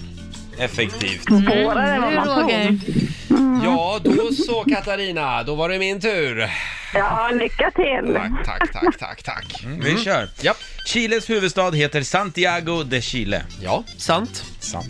effektivt.
Mm,
Svårare än vad
Nu
man tror.
Roger.
Ja, då så Katarina, då var det min tur.
Ja, lycka till.
Tack, tack, tack, tack, tack. Mm.
Vi kör.
Japp.
Chiles huvudstad heter Santiago de Chile.
Ja, sant.
Sant.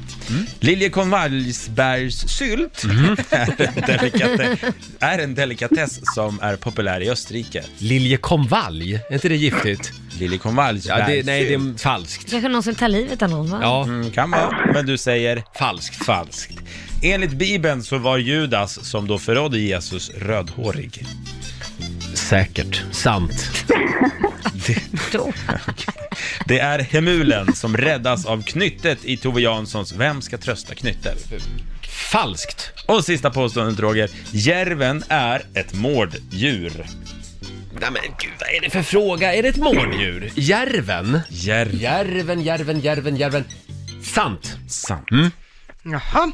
Liljekonvaljsbärssylt
Mm. [laughs]
är, en Mm. [laughs] delikate- är en delikatess som är populär i Österrike.
Liljekonvalj, är inte det giftigt? Ja, det,
Liljekonvaljsbärssylt.
nej, det är falskt.
Kanske någon som tar livet av någon va?
Ja,
Mm, kan vara, men du säger
falskt.
falskt. Enligt Bibeln så var Judas, som då förrådde Jesus, rödhårig.
Säkert.
[laughs]
Sant.
Då.
Det är Hemulen som räddas av knyttet i Tove Janssons Vem ska trösta knyttet?
Falskt.
Och sista påståendet Roger, järven är ett mårddjur.
Nej men gud, vad är det för fråga? Är det ett mårddjur? Järven?
Järv.
Järven, järven, järven, järven. Sant.
Sant.
Mm.
Jaha.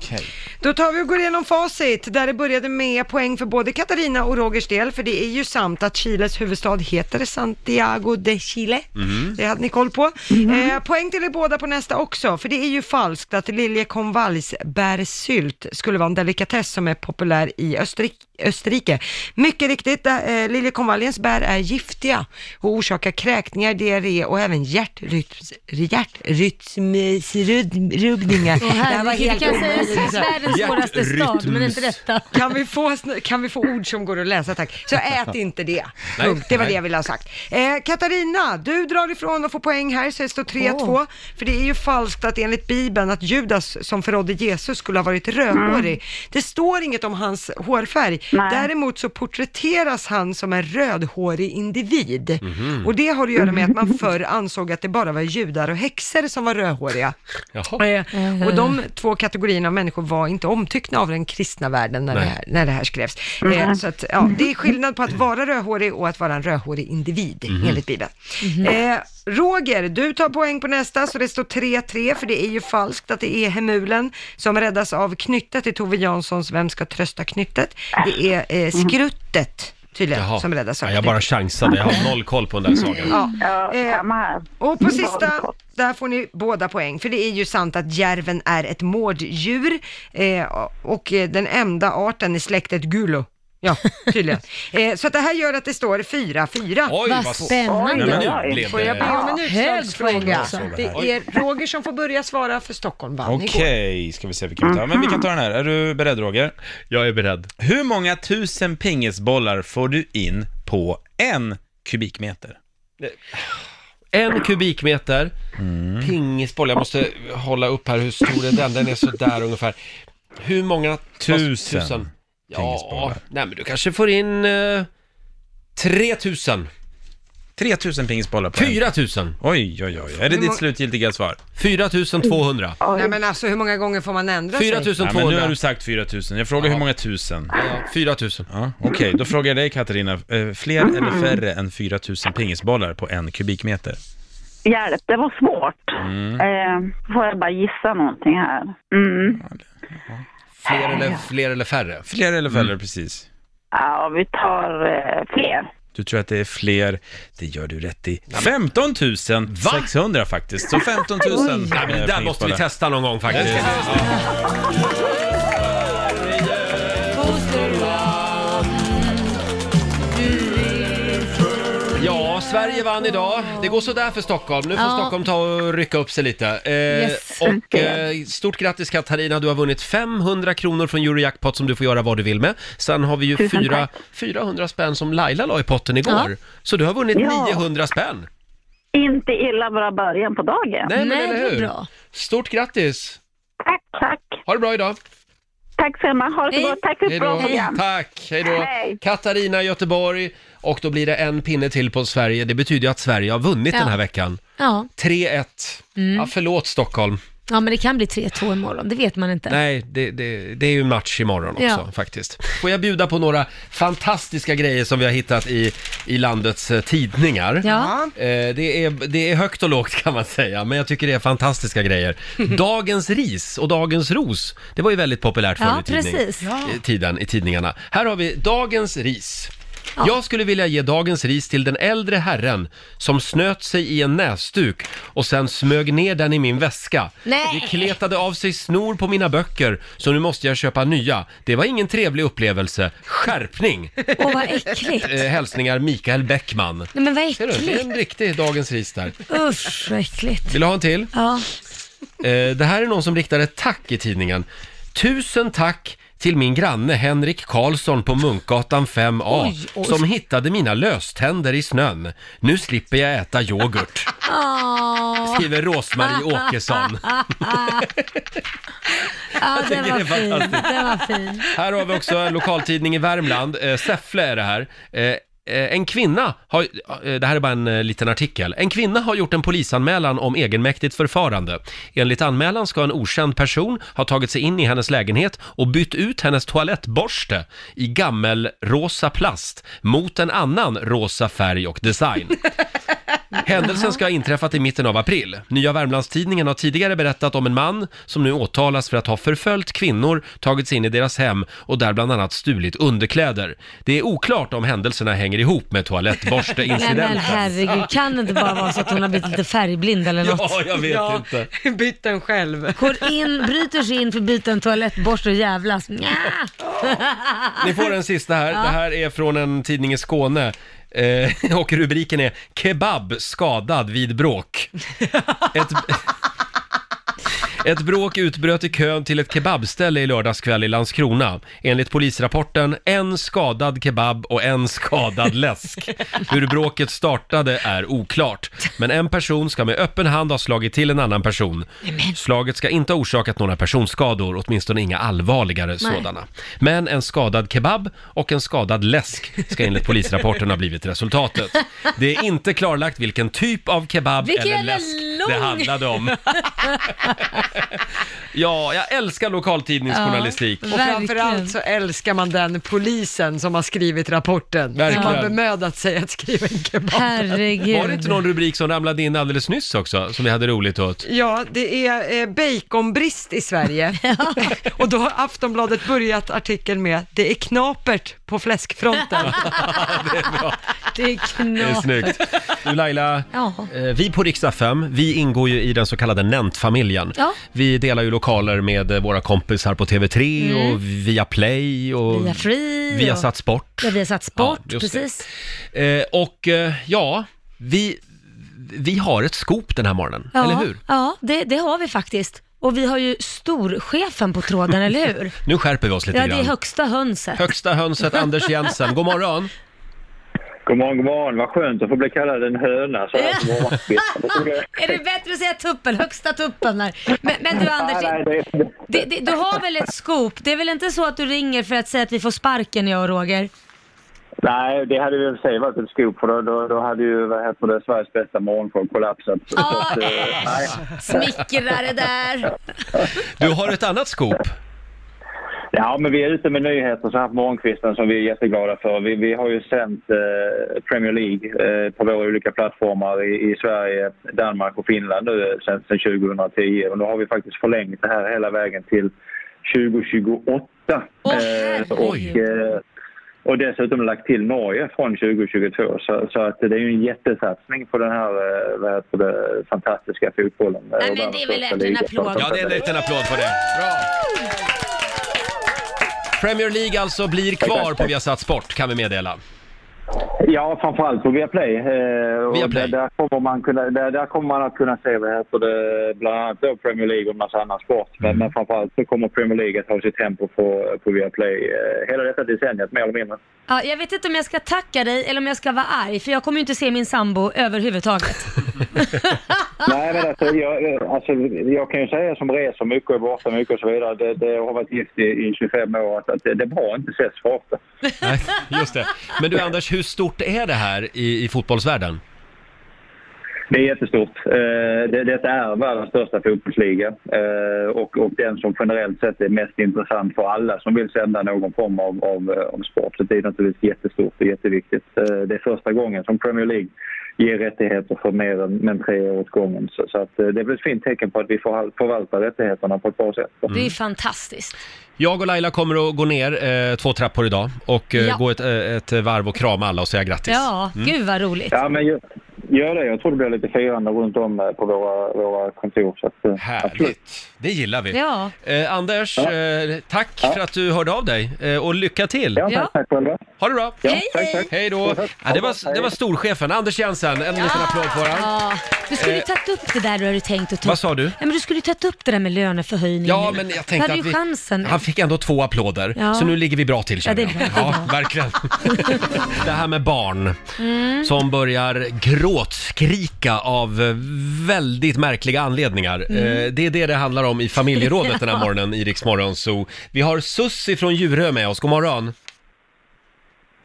Då tar vi och går igenom facit där det började med poäng för både Katarina och Rogers del för det är ju sant att Chiles huvudstad heter Santiago de Chile.
Mm.
Mm-hmm.
Det hade ni koll på. Eh, poäng till er båda på nästa också för det är ju falskt att liljekonvaljsbärsylt skulle vara en delikatess som är populär i Österrike. Österrike. Mycket riktigt, eh, liljekonvaljens bär är giftiga och orsakar kräkningar, diarré och även hjärtrytms- hjärtrytmsrubbningar.
Åh herregud, det kan sägas världens svåraste stad, men inte detta.
Kan vi, få, sn- kan vi få ord som går att läsa tack? Så ät inte det.
Nej,
Punkt. det var
nej.
det jag ville ha sagt. Eh, Katarina, du drar ifrån och får poäng här så det står 3-2. För det är ju falskt att enligt Bibeln att Judas som förrådde Jesus skulle ha varit rödhårig. Det står inget om hans hårfärg.
Nej.
Däremot så porträtteras han som en rödhårig individ.
Mm-hmm. Mhm.
Och det har att göra med att man förr ansåg att det bara var judar och häxor som var rödhåriga.
Jaha.
Eh, Och de två kategorierna av människor var inte omtyckta av den kristna världen när, det
Nej.
här, när det här skrevs. Eh, så att, ja, det är skillnad på att vara rödhårig och att vara en rödhårig individ,
Mhm.
enligt Bibeln. Eh, Roger, du tar poäng på nästa, så det står 3-3, för det är ju falskt att det är Hemulen som räddas av knyttet i Tove Janssons Vem ska trösta knyttet? Det är eh, skruttet, tydligen,
Jaha.
som räddas av
Ja, jag
knyttet.
bara chansade, jag har noll koll på den där sagan.
Ja.
Ja,
Eh,
samma här. Mm.
Och på sista, där får ni båda poäng, för det är ju sant att järven är ett mårddjur eh, och eh, den enda arten i släktet Gulo. Ja,
[laughs]
tydligen. eh, så att det här gör att det står 4-4.
Oj,
Vad
vad s-
spännande.
Nej, men
Oj,
nu
oj.
blev
Får jag be
det...
om en
Hög poäng
utslagsfråga?
också.
Det är Roger som får börja svara för Stockholm vann
Okej,
igår.
ska vi se vilken vi tar. Men vi kan ta den här. Är du beredd Roger?
Jag är beredd.
Hur många tusen pingisbollar får du in på en kubikmeter?
En kubikmeter
Mm.
pingisboll. Jag måste hålla upp här hur stor är den? Den är sådär ungefär. Hur många?
Tusen
Ja,
pingisbollar.
nej men du kanske får in eh, 3000.
3000 pingisbollar på en.
4000.
Oj, oj, oj. Är det
Hur många-
ditt slutgiltiga svar?
4200.
Nej men alltså hur många gånger får man ändra sig?
4200.
Nej, men nu har du sagt 4000. Jag frågar hur många tusen.
Ja, 4000.
Ja, Okej, då frågar jag dig Katarina. eh, Fler eller färre än 4000 pingisbollar på en kubikmeter?
Hjälp, det var svårt.
Mm.
Eh, får jag bara gissa någonting här? Mm.
Fler eller, fler eller färre? Mm.
Fler eller färre, precis.
Ja, vi tar eh, fler.
Du tror att det är fler, det gör du rätt i. 15 600 faktiskt, så eh, 15 000.
Oj. Nej, men det där måste vi testa någon gång faktiskt. Ja, Sverige vann idag. Det går sådär för Stockholm. Nu får
Ja.
Stockholm ta och rycka upp sig lite. Eh,
Yes.
Och eh, stort grattis Katarina, du har vunnit 500 kronor från Eurojackpot som du får göra vad du vill med. Sen har vi ju
Tusen
fyra,
tack.
400 spänn som Laila la i potten igår.
Ja.
Så du har vunnit
Ja.
900 spänn.
Inte illa bara början på dagen.
Nej, men eller hur? Stort grattis!
Tack.
Ha det bra idag!
Tack så hemma. Ha det så gott. Tack för ett
Hej då.
bra program.
Tack, hej då.
Hej.
Katarina i Göteborg och då blir det en pinne till på Sverige. Det betyder ju att Sverige har vunnit
Ja.
den här veckan.
Ja.
3-1.
Mm.
Ja, förlåt Stockholm.
ja, men det kan bli 3-2 imorgon, det vet man inte.
Nej, det, det, det är ju match imorgon också
Ja.
faktiskt. Får jag bjuda på några fantastiska grejer som vi har hittat i, i landets eh, tidningar.
Ja.
Eh, det, är, det är högt och lågt [laughs] kan man säga, men jag tycker det är
[laughs]
fantastiska grejer. Dagens ris och Dagens ros, det var ju väldigt populärt förr
Ja,
i, tidning,
precis. Ja.
i tiden i tidningarna. Här har vi Dagens ris.
Ja.
Jag skulle vilja ge dagens ris till den äldre herren som snöt sig i en näsduk och sen smög ner den i min väska.
Nej.
Det kletade av sig snor på mina böcker så nu måste jag köpa nya. Det var ingen trevlig upplevelse. Skärpning!
Åh, vad äckligt.
Eh, hälsningar Mikael Bäckman.
Nej, men vad
Ser du, det är en
äckligt.
riktig dagens ris där.
Usch, vad äckligt.
Vill du ha en till?
Ja.
Eh, det här är någon som riktar ett tack i tidningen. Tusen tack till min granne Henrik Karlsson på Munkgatan 5A
Oj, oj.
som hittade mina löständer i snön. Nu slipper jag äta yoghurt,
Åh.
skriver
[laughs]
Rosmarie Åkesson.
Ja,
Jag
den
tycker
var
det är
fin.
fantastiskt.
Den var fin.
Här har vi också en lokaltidning i Värmland, eh, Säffle är det här. Eh, eh, en kvinna har, eh, det här är bara en eh, liten artikel, en kvinna har gjort en polisanmälan om egenmäktigt förfarande. Enligt anmälan ska en okänd person ha tagit sig in i hennes lägenhet och bytt ut hennes toalettborste i gammelrosa plast mot en annan rosa färg och design. Händelsen ska ha inträffat i mitten av april. Nya Värmlandstidningen har tidigare berättat om en man som nu åtalas för att ha förföljt kvinnor, tagit sig in i deras hem och där bland annat stulit underkläder. Det är oklart om händelserna hänger ihop med
Nej men
toalettborsteincidenten.
herregud, kan det inte bara vara så att hon har blivit lite färgblind eller
Ja,
något?
jag vet inte.
Byt den själv.
Går in, bryter sig in för att byta en toalettborste och jävlas. Nja.
Ni får en sista här.
Ja.
Det här är från en tidning i Skåne. Eh, och rubriken är “Kebab skadad vid bråk”. Ett, ett bråk utbröt i kön till ett kebabställe i lördagskväll i Landskrona. Enligt polisrapporten, en skadad kebab och en skadad läsk. Hur bråket startade är oklart. Men en person ska med öppen hand ha slagit till en annan person. Slaget ska inte ha orsakat några personskador, åtminstone inga allvarligare
Nej.
sådana. Men en skadad kebab och en skadad läsk ska enligt polisrapporten ha blivit resultatet. Det är inte klarlagt vilken typ av kebab
Vilken
eller
jävla
läsk
lång-
det handlade [laughs] om. Ja, jag älskar lokaltidningsjournalistik.
Och framförallt så älskar man den polisen som har skrivit rapporten.
Verkligen.
Som har bemödat sig att skriva en kebab.
Var det inte någon rubrik som ramlade in alldeles nyss också, som vi hade roligt åt?
Ja, det är eh, baconbrist i
[laughs]
Sverige. [laughs] och då har Aftonbladet börjat artikeln med “Det är knapert på
[laughs]
fläskfronten”.
det är knapert.
Det är snyggt. Du Laila, eh, vi på Riksdag 5, vi ingår ju i den så kallade Nent-familjen.
Ja.
Vi delar ju lokaler med eh, våra kompisar på TV3
Mm.
och via Play och
Via Free
via
och-
Satt Sport.
Ja, vi har satt sport,
Ja, just det.
precis.
Eh, och eh, ja, vi, vi har ett scoop den här morgonen,
Ja,
eller hur?
Ja, det, det har vi faktiskt. Och vi har ju storchefen på tråden, eller hur?
[laughs] Nu skärper vi oss lite
Ja, det
grann.
är högsta hönset.
Högsta
[laughs]
hönset Anders Jensen, god morgon.
God morgon, god morgon. Vad skönt att få bli kallad en höna så här på morgonen.
Är det bättre att säga tuppen? Högsta tuppen här. Men, men du Anders, det, det, du har väl ett scoop? Det är väl inte så att du ringer för att säga att vi får sparken jag och Roger?
Nej, det hade väl i och för sig varit ett scoop för då, då, då hade ju vad heter det, Sveriges bästa morgonshow kollapsat. Så att, eh, nej.
Smickrare där.
Du har ett annat scoop.
Ja, men vi är ute med nyheter så här på morgonkvisten som vi är jätteglada för. Vi, vi har ju sänt eh, Premier League eh, på våra olika plattformar i, i Sverige, Danmark och Finland nu eh, sedan sedan 2010. Och nu har vi faktiskt förlängt det här hela vägen till 2028.
Åh,
Eh, och,
herregud.
eh, och dessutom lagt till Norge från 2022. Så, så att det är ju en jättesatsning på den här eh, vad heter det, fantastiska fotbollen. eh, och världens största liga.
Ja, det är en liten applåd på det. Bra. Premier League alltså blir kvar på Viasat Sport, kan vi meddela.
Ja, framförallt på Viaplay. Eh, och Där, där, kommer man kunna, där, där kommer man att kunna se vad heter det, bland annat då Premier League och en massa annan sport. Men, men framförallt så kommer Premier League att ha sitt tempo på, på Viaplay eh, hela detta decenniet mer eller mindre.
Ja, jag vet inte om jag ska tacka dig eller om jag ska vara arg, för jag kommer ju inte se min sambo överhuvudtaget.
Nej, men alltså, jag, eh, alltså, jag kan ju säga som reser mycket och är borta mycket och så vidare. Det, det har varit gift i, i 25 år att, att det, det är bra att inte ses för ofta.
Nej, just det. Men du Anders, hur stort är det här i, i fotbollsvärlden?
Det är jättestort. Eh, det, detta är världens största fotbollsliga eh, och, och den som generellt sett är mest intressant för alla som vill sända någon form av, av, eh, av sport. Så det är naturligtvis jättestort och jätteviktigt. Eh, det är första gången som Premier League ger rättigheter för mer än, men tre år åt gången. Så, så att, eh, det är väl ett fint tecken på att vi förhal- förvaltar rättigheterna på ett bra sätt.
Det är
Mm.
ju fantastiskt.
Jag och Laila kommer att gå ner eh, två trappor idag och eh,
Ja.
gå ett, eh, ett varv och krama alla och säga grattis.
Ja,
Mm.
gud vad roligt.
Ja, men gör, gör det. Jag tror det blir lite firande runt om eh, på våra, våra kontor. Så att, eh, absolut.
Det gillar vi.
Ja.
Eh, Anders, eh, tack för att du hörde av dig eh, och lycka till!
Ja, tack, tack själva.
Ha det bra!
Ja, Hej, tack, hej. tack.
Hej då! Ja, det, var, det var storchefen, Anders Jensen. En liten applåd på honom.
Ja, du skulle ju
Eh,
tagit upp det där du hade tänkt att ta
Vad
upp.
sa du?
Ja, men du skulle ju tagit upp det där med löneförhöjningen.
Ja, men jag tänkte
hade
att
ju
vi,
chansen.
han fick ändå två applåder,
Ja.
så nu ligger vi bra till
Ja, det
känner
är
jag.
bra. Det är
Ja,
[laughs]
verkligen. Det här med barn
Mm.
som börjar gråtskrika av eh, väldigt märkliga anledningar.
Mm.
Eh, Det är det det handlar om i familjerådet den här
[laughs] Ja.
morgonen i Rix Morgon Zoo. Vi har Sussi från Djurö med oss, god morgon.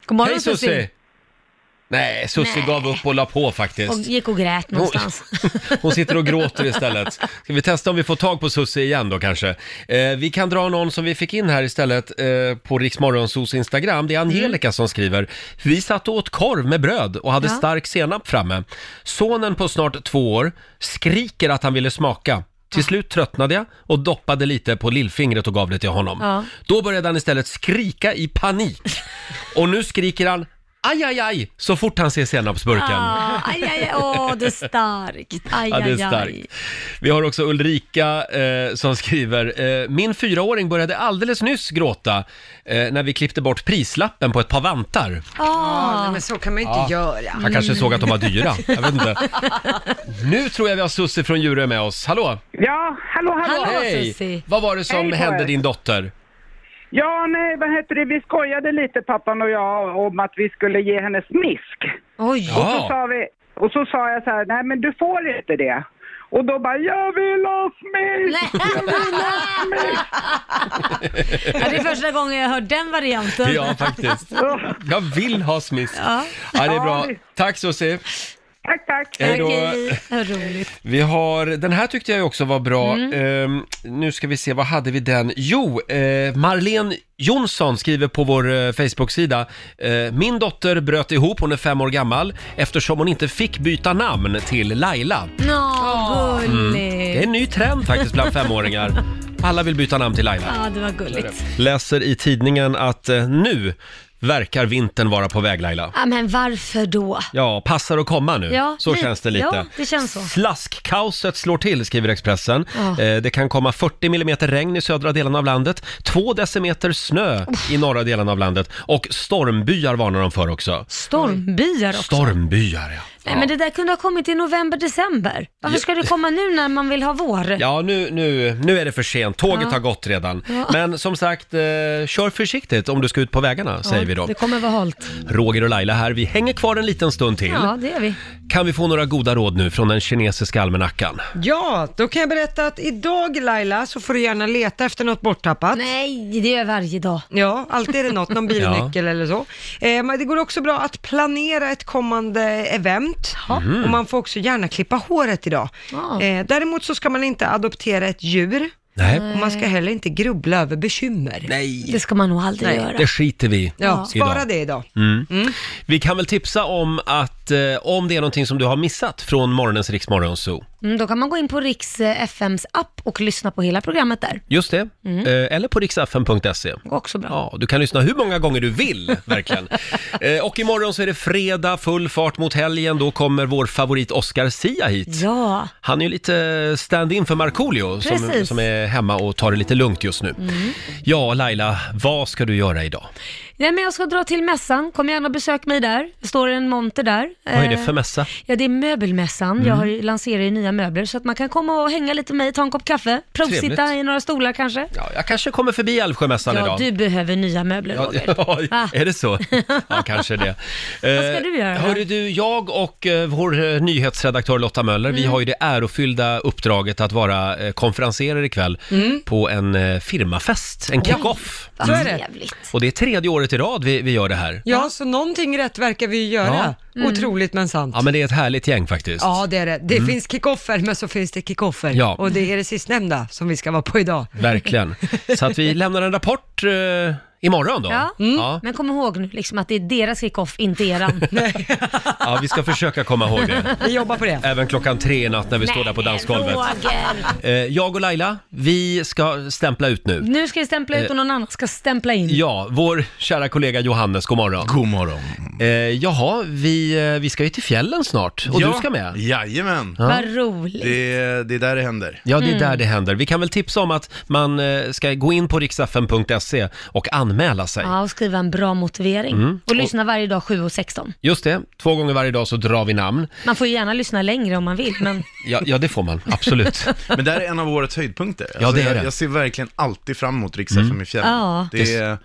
God morgon
Hej Sussi! Nej, Sussi
Nej.
gav upp och la på
Och
faktiskt.
gick och grät någonstans.
Hon sitter och gråter istället. Ska vi testa om vi får tag på Sussi igen då kanske? Eh, vi kan dra någon som vi fick in här istället eh, på Riksmorgonsos Instagram. Det
Mm.
är Angelica som skriver. Vi satt och åt korv med bröd och hade
Ja.
stark senap framme. Sonen på snart två år skriker att han ville smaka. Till slut tröttnade jag och doppade lite på lillfingret och gav det till honom.
Ja.
Då började han istället skrika i panik. Och nu skriker han aj, aj, aj så fort han ser senapsburken.
Ah, aj, aj, aj. Åh, det är starkt. Aj,
Ja, det är
aj, aj.
starkt. Vi har också Ulrika eh, som skriver, eh, min fyraåring började alldeles nyss gråta eh, när vi klippte bort prislappen på ett par vantar.
Ja, nej, men så kan man ju inte
Ja.
göra.
Han kanske såg att de var dyra, jag vet inte. Nu tror jag vi har Susie från Djurö med oss, hallå!
Ja, hallå, hallå!
Hej! Vad var det som
Hej på
hände
er.
din dotter?
Ja, nej, vad heter det? Vi skojade lite, pappan och jag, om att vi skulle ge henne smisk.
Oj!
Och så
Ja.
sa, vi, och så sa jag så här, nej men du får inte det. Och då bara, jag vill ha smisk! Jag vill ha smisk!
Ja, det är första gången jag hör den varianten.
[laughs] Ja, faktiskt. Jag vill ha smisk. Ja,
Ja.
det är bra.
Ja, det-
Tack Susie.
Tack, tack!
Hej då.
Okej, vad roligt.
Vi har, den här tyckte jag ju också var bra.
Mm.
Ehm, nu ska vi se, vad hade vi den? Jo, eh, Marlene Jonsson skriver på vår eh, Facebook-sida. Eh, Min dotter bröt ihop, hon är fem år gammal, eftersom hon inte fick byta namn till Laila.
Nå,
Mm.
gulligt.
Det är en ny trend faktiskt
[laughs]
bland femåringar. Alla vill byta namn till Laila.
Ja, det var gulligt.
Läser i tidningen att eh, nu verkar vintern vara på väg Laila.
Ja, men varför då?
Ja, passar att komma nu.
Ja,
så
li-
känns det lite.
ja, det känns så.
Slaskkaoset slår till, skriver Expressen.
Ja.
Eh, det kan komma 40 mm regn i södra delen av landet, 2 decimeter snö i norra delen av landet och stormbyar varnar de för också.
Stormbyar också.
Stormbyar, ja.
Nej, men det där kunde ha kommit i november, december. Varför ska det komma nu när man vill ha vår?
Ja, nu, nu, nu är det för sent. Tåget
Ja.
har gått redan.
Ja.
Men som sagt, eh, kör försiktigt om du ska ut på vägarna, säger vi då.
Det kommer vara halt.
Roger och Laila här. Vi hänger kvar en liten stund till.
Ja, det är vi.
Kan vi få några goda råd nu från den kinesiska almanackan?
Ja, då kan jag berätta att idag Laila så får du gärna leta efter något borttappat.
Nej, det gör jag varje dag.
Ja, alltid är det något, någon bilnyckel eller så. Eh, men det går också bra att planera ett kommande event Mm.
Mhm.
och man får också gärna klippa håret idag.
Ja.
Eh, däremot så ska man inte adoptera ett djur
Nej.
och man ska heller inte grubbla över bekymmer.
Nej.
Det ska man nog aldrig
Nej.
göra.
Det skiter vi i
Ja, spara
idag.
Mm.
det idag.
Mm. Vi kan väl tipsa om att att eh, om det är någonting som du har missat från morgonens Riksmorgon Zoo,
Mm, då kan man gå in på Riks eh, FMs app och lyssna på hela programmet där.
just det,
Mm.
eh, eller på riksfn.se.
Också bra.
Ja, du kan lyssna hur många gånger
[laughs]
du vill, verkligen. eh, och imorgon så är det fredag, full fart mot helgen, då kommer vår favorit Oscar Sia hit.
Ja.
Han är ju lite stand-in för Markoolio som,
Precis.
som är hemma och tar det lite lugnt just nu.
Mm.
Ja, Laila, vad ska du göra idag?
Nej, men jag ska dra till mässan. Kom gärna och besök mig där. Det står en monter där.
Vad är det
Eh,
för mässa?
Ja, det är möbelmässan.
Mm.
Jag har ju, lanserar ju nya möbler, så att man kan komma och hänga lite med mig, ta en kopp kaffe, provsitta
Trevligt.
i några stolar kanske.
Ja, jag kanske kommer förbi Älvsjömässan
Ja,
idag.
du behöver nya möbler,
Ja,
Roger.
[laughs] ja,
Ah.
är det så? Ja, kanske det.
[laughs]
Eh,
Vad ska du göra då?
Hörru du, jag och eh, vår eh, nyhetsredaktör Lotta Möller, vi
Mm.
har ju det ärofyllda uppdraget att vara eh, konferenserer ikväll
Mm.
på en eh, firmafest, en kick-off.
Ja, så är det.
Och det är tredje året i rad vi, vi gör det här.
Ja, så någonting rätt verkar vi ju göra.
Ja. Mm.
Otroligt men sant.
Ja, men det är ett härligt gäng faktiskt.
Ja, det är det. Det
Mm.
finns kickoffer, men så finns det kickoffer.
Ja.
Och det är det sistnämnda som vi ska vara på idag.
Verkligen. Så
[laughs]
att vi lämnar en rapport eh, imorgon då. Mm.
Ja.
Mm.
Ja.
Men kom ihåg nu liksom att det är deras kick-off, inte
[laughs]
eran.
ja, vi ska försöka komma
[laughs]
ihåg det.
Vi jobbar på det.
Även klockan tre i natt när vi står där på dansgolvet.
Roger.
Eh, Jag och Laila, vi ska stämpla ut nu.
Nu ska vi stämpla ut och någon annan ska stämpla in.
Ja, vår kära kollega Johannes, god morgon. God morgon. Eh, jaha, vi, eh, vi ska ju till fjällen snart och
Ja.
du ska med.
Jajamän.
Ja.
Vad roligt. [laughs]
Det, det är där det händer.
Ja, det är
Mm.
där det händer. Vi kan väl tipsa om att man eh, ska gå in på riksfn.se och anmäla sig.
Ja, och skriva en bra motivering.
Mm.
Och lyssna varje dag 7 och 16.
Just det, två gånger varje dag så drar vi namn.
Man får ju gärna lyssna längre om man vill, men
Ja, ja det
[laughs]
får man, absolut.
Men det här är en av årets höjdpunkter. Alltså,
Ja, det är
jag,
det.
jag ser verkligen alltid fram emot riks mm. i fjällen.
Ja.
Det, är-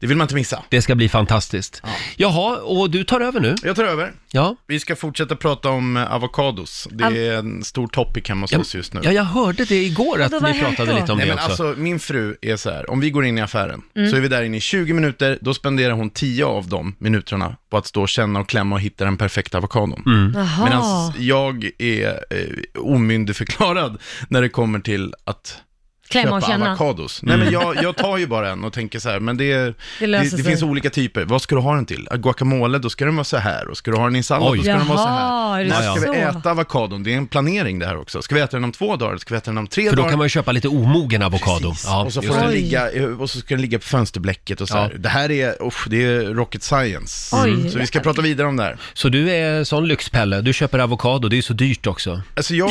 det vill man inte missa.
Det ska bli fantastiskt. Jaha, och du tar över nu?
Jag tar över.
Ja.
Vi ska fortsätta prata om eh, avokados. Det
Av-
är en stor topic hemma hos oss just nu.
Ja, jag hörde det igår att ni pratade lite om
Nej,
det
men
också.
Alltså, min fru är så här, om vi går in i affären,
Mm.
så är vi där inne i 20 minuter, då spenderar hon 10 av de minuterna på att stå och känna och klämma och hitta den perfekta avokadon. Mm.
Jaha.
Medan jag är eh, omyndigförklarad [laughs] när det kommer till att
Klämma
köpa
och känna.
avokados. Nej,
Mm.
men jag, jag tar ju bara en och tänker så här, men det, det,
[laughs] Det löser
det,
sig.
finns olika typer. Vad ska du ha den till? Guacamole, då ska den vara så här. Och ska du ha den i sallad,
Oj.
då ska den vara så
Jaha, är
här.
det
När
så?
ska vi äta avokadon? Det är en planering det här också. Ska vi äta den om två dagar? Ska vi äta den om tre
För då
dagar?
kan man ju köpa lite omogen avokado. Ja,
och, så
just
får den
det.
ligga, eh, och så ska den ligga på fönsterblecket och så här. Det här är, usch, det är rocket science.
Oj.
Mm. Så vi ska prata vidare om det här.
Så du är sån lyxpelle, du köper avokado, det är ju så dyrt också.
Alltså jag...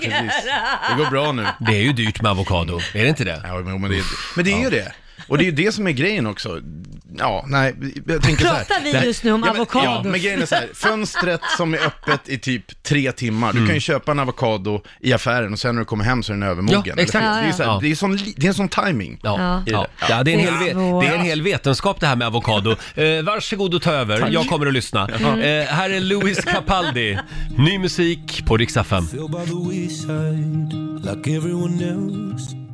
Precis. Det går bra nu.
Det är ju dyrt med avokado, är det inte det?
Ja, men, men det, men det är ju det. Och det är ju det som är grejen också. Ja, nej, jag tänker så här.
Pratar vi just nu om
ja, men, Ja,
avokado?
men grejen är så här, fönstret som är öppet i typ tre timmar, du
Mm.
kan ju köpa en avokado i affären och sen när du kommer hem så är den övermogen.
Ja, exakt.
Det, är så
Ja, ja.
här, det, är sån, li- det är en sån timing.
Ja.
i
Ja.
där.
Ja, det, är en hel, ve- det är en hel vetenskap det här med [laughs] avokado. Eh, varsågod och ta över,
Tack.
jag kommer att lyssna.
Mm.
Eh, här är Louis Capaldi, ny musik på Riksaffären.
Fell by the wayside, like everyone else.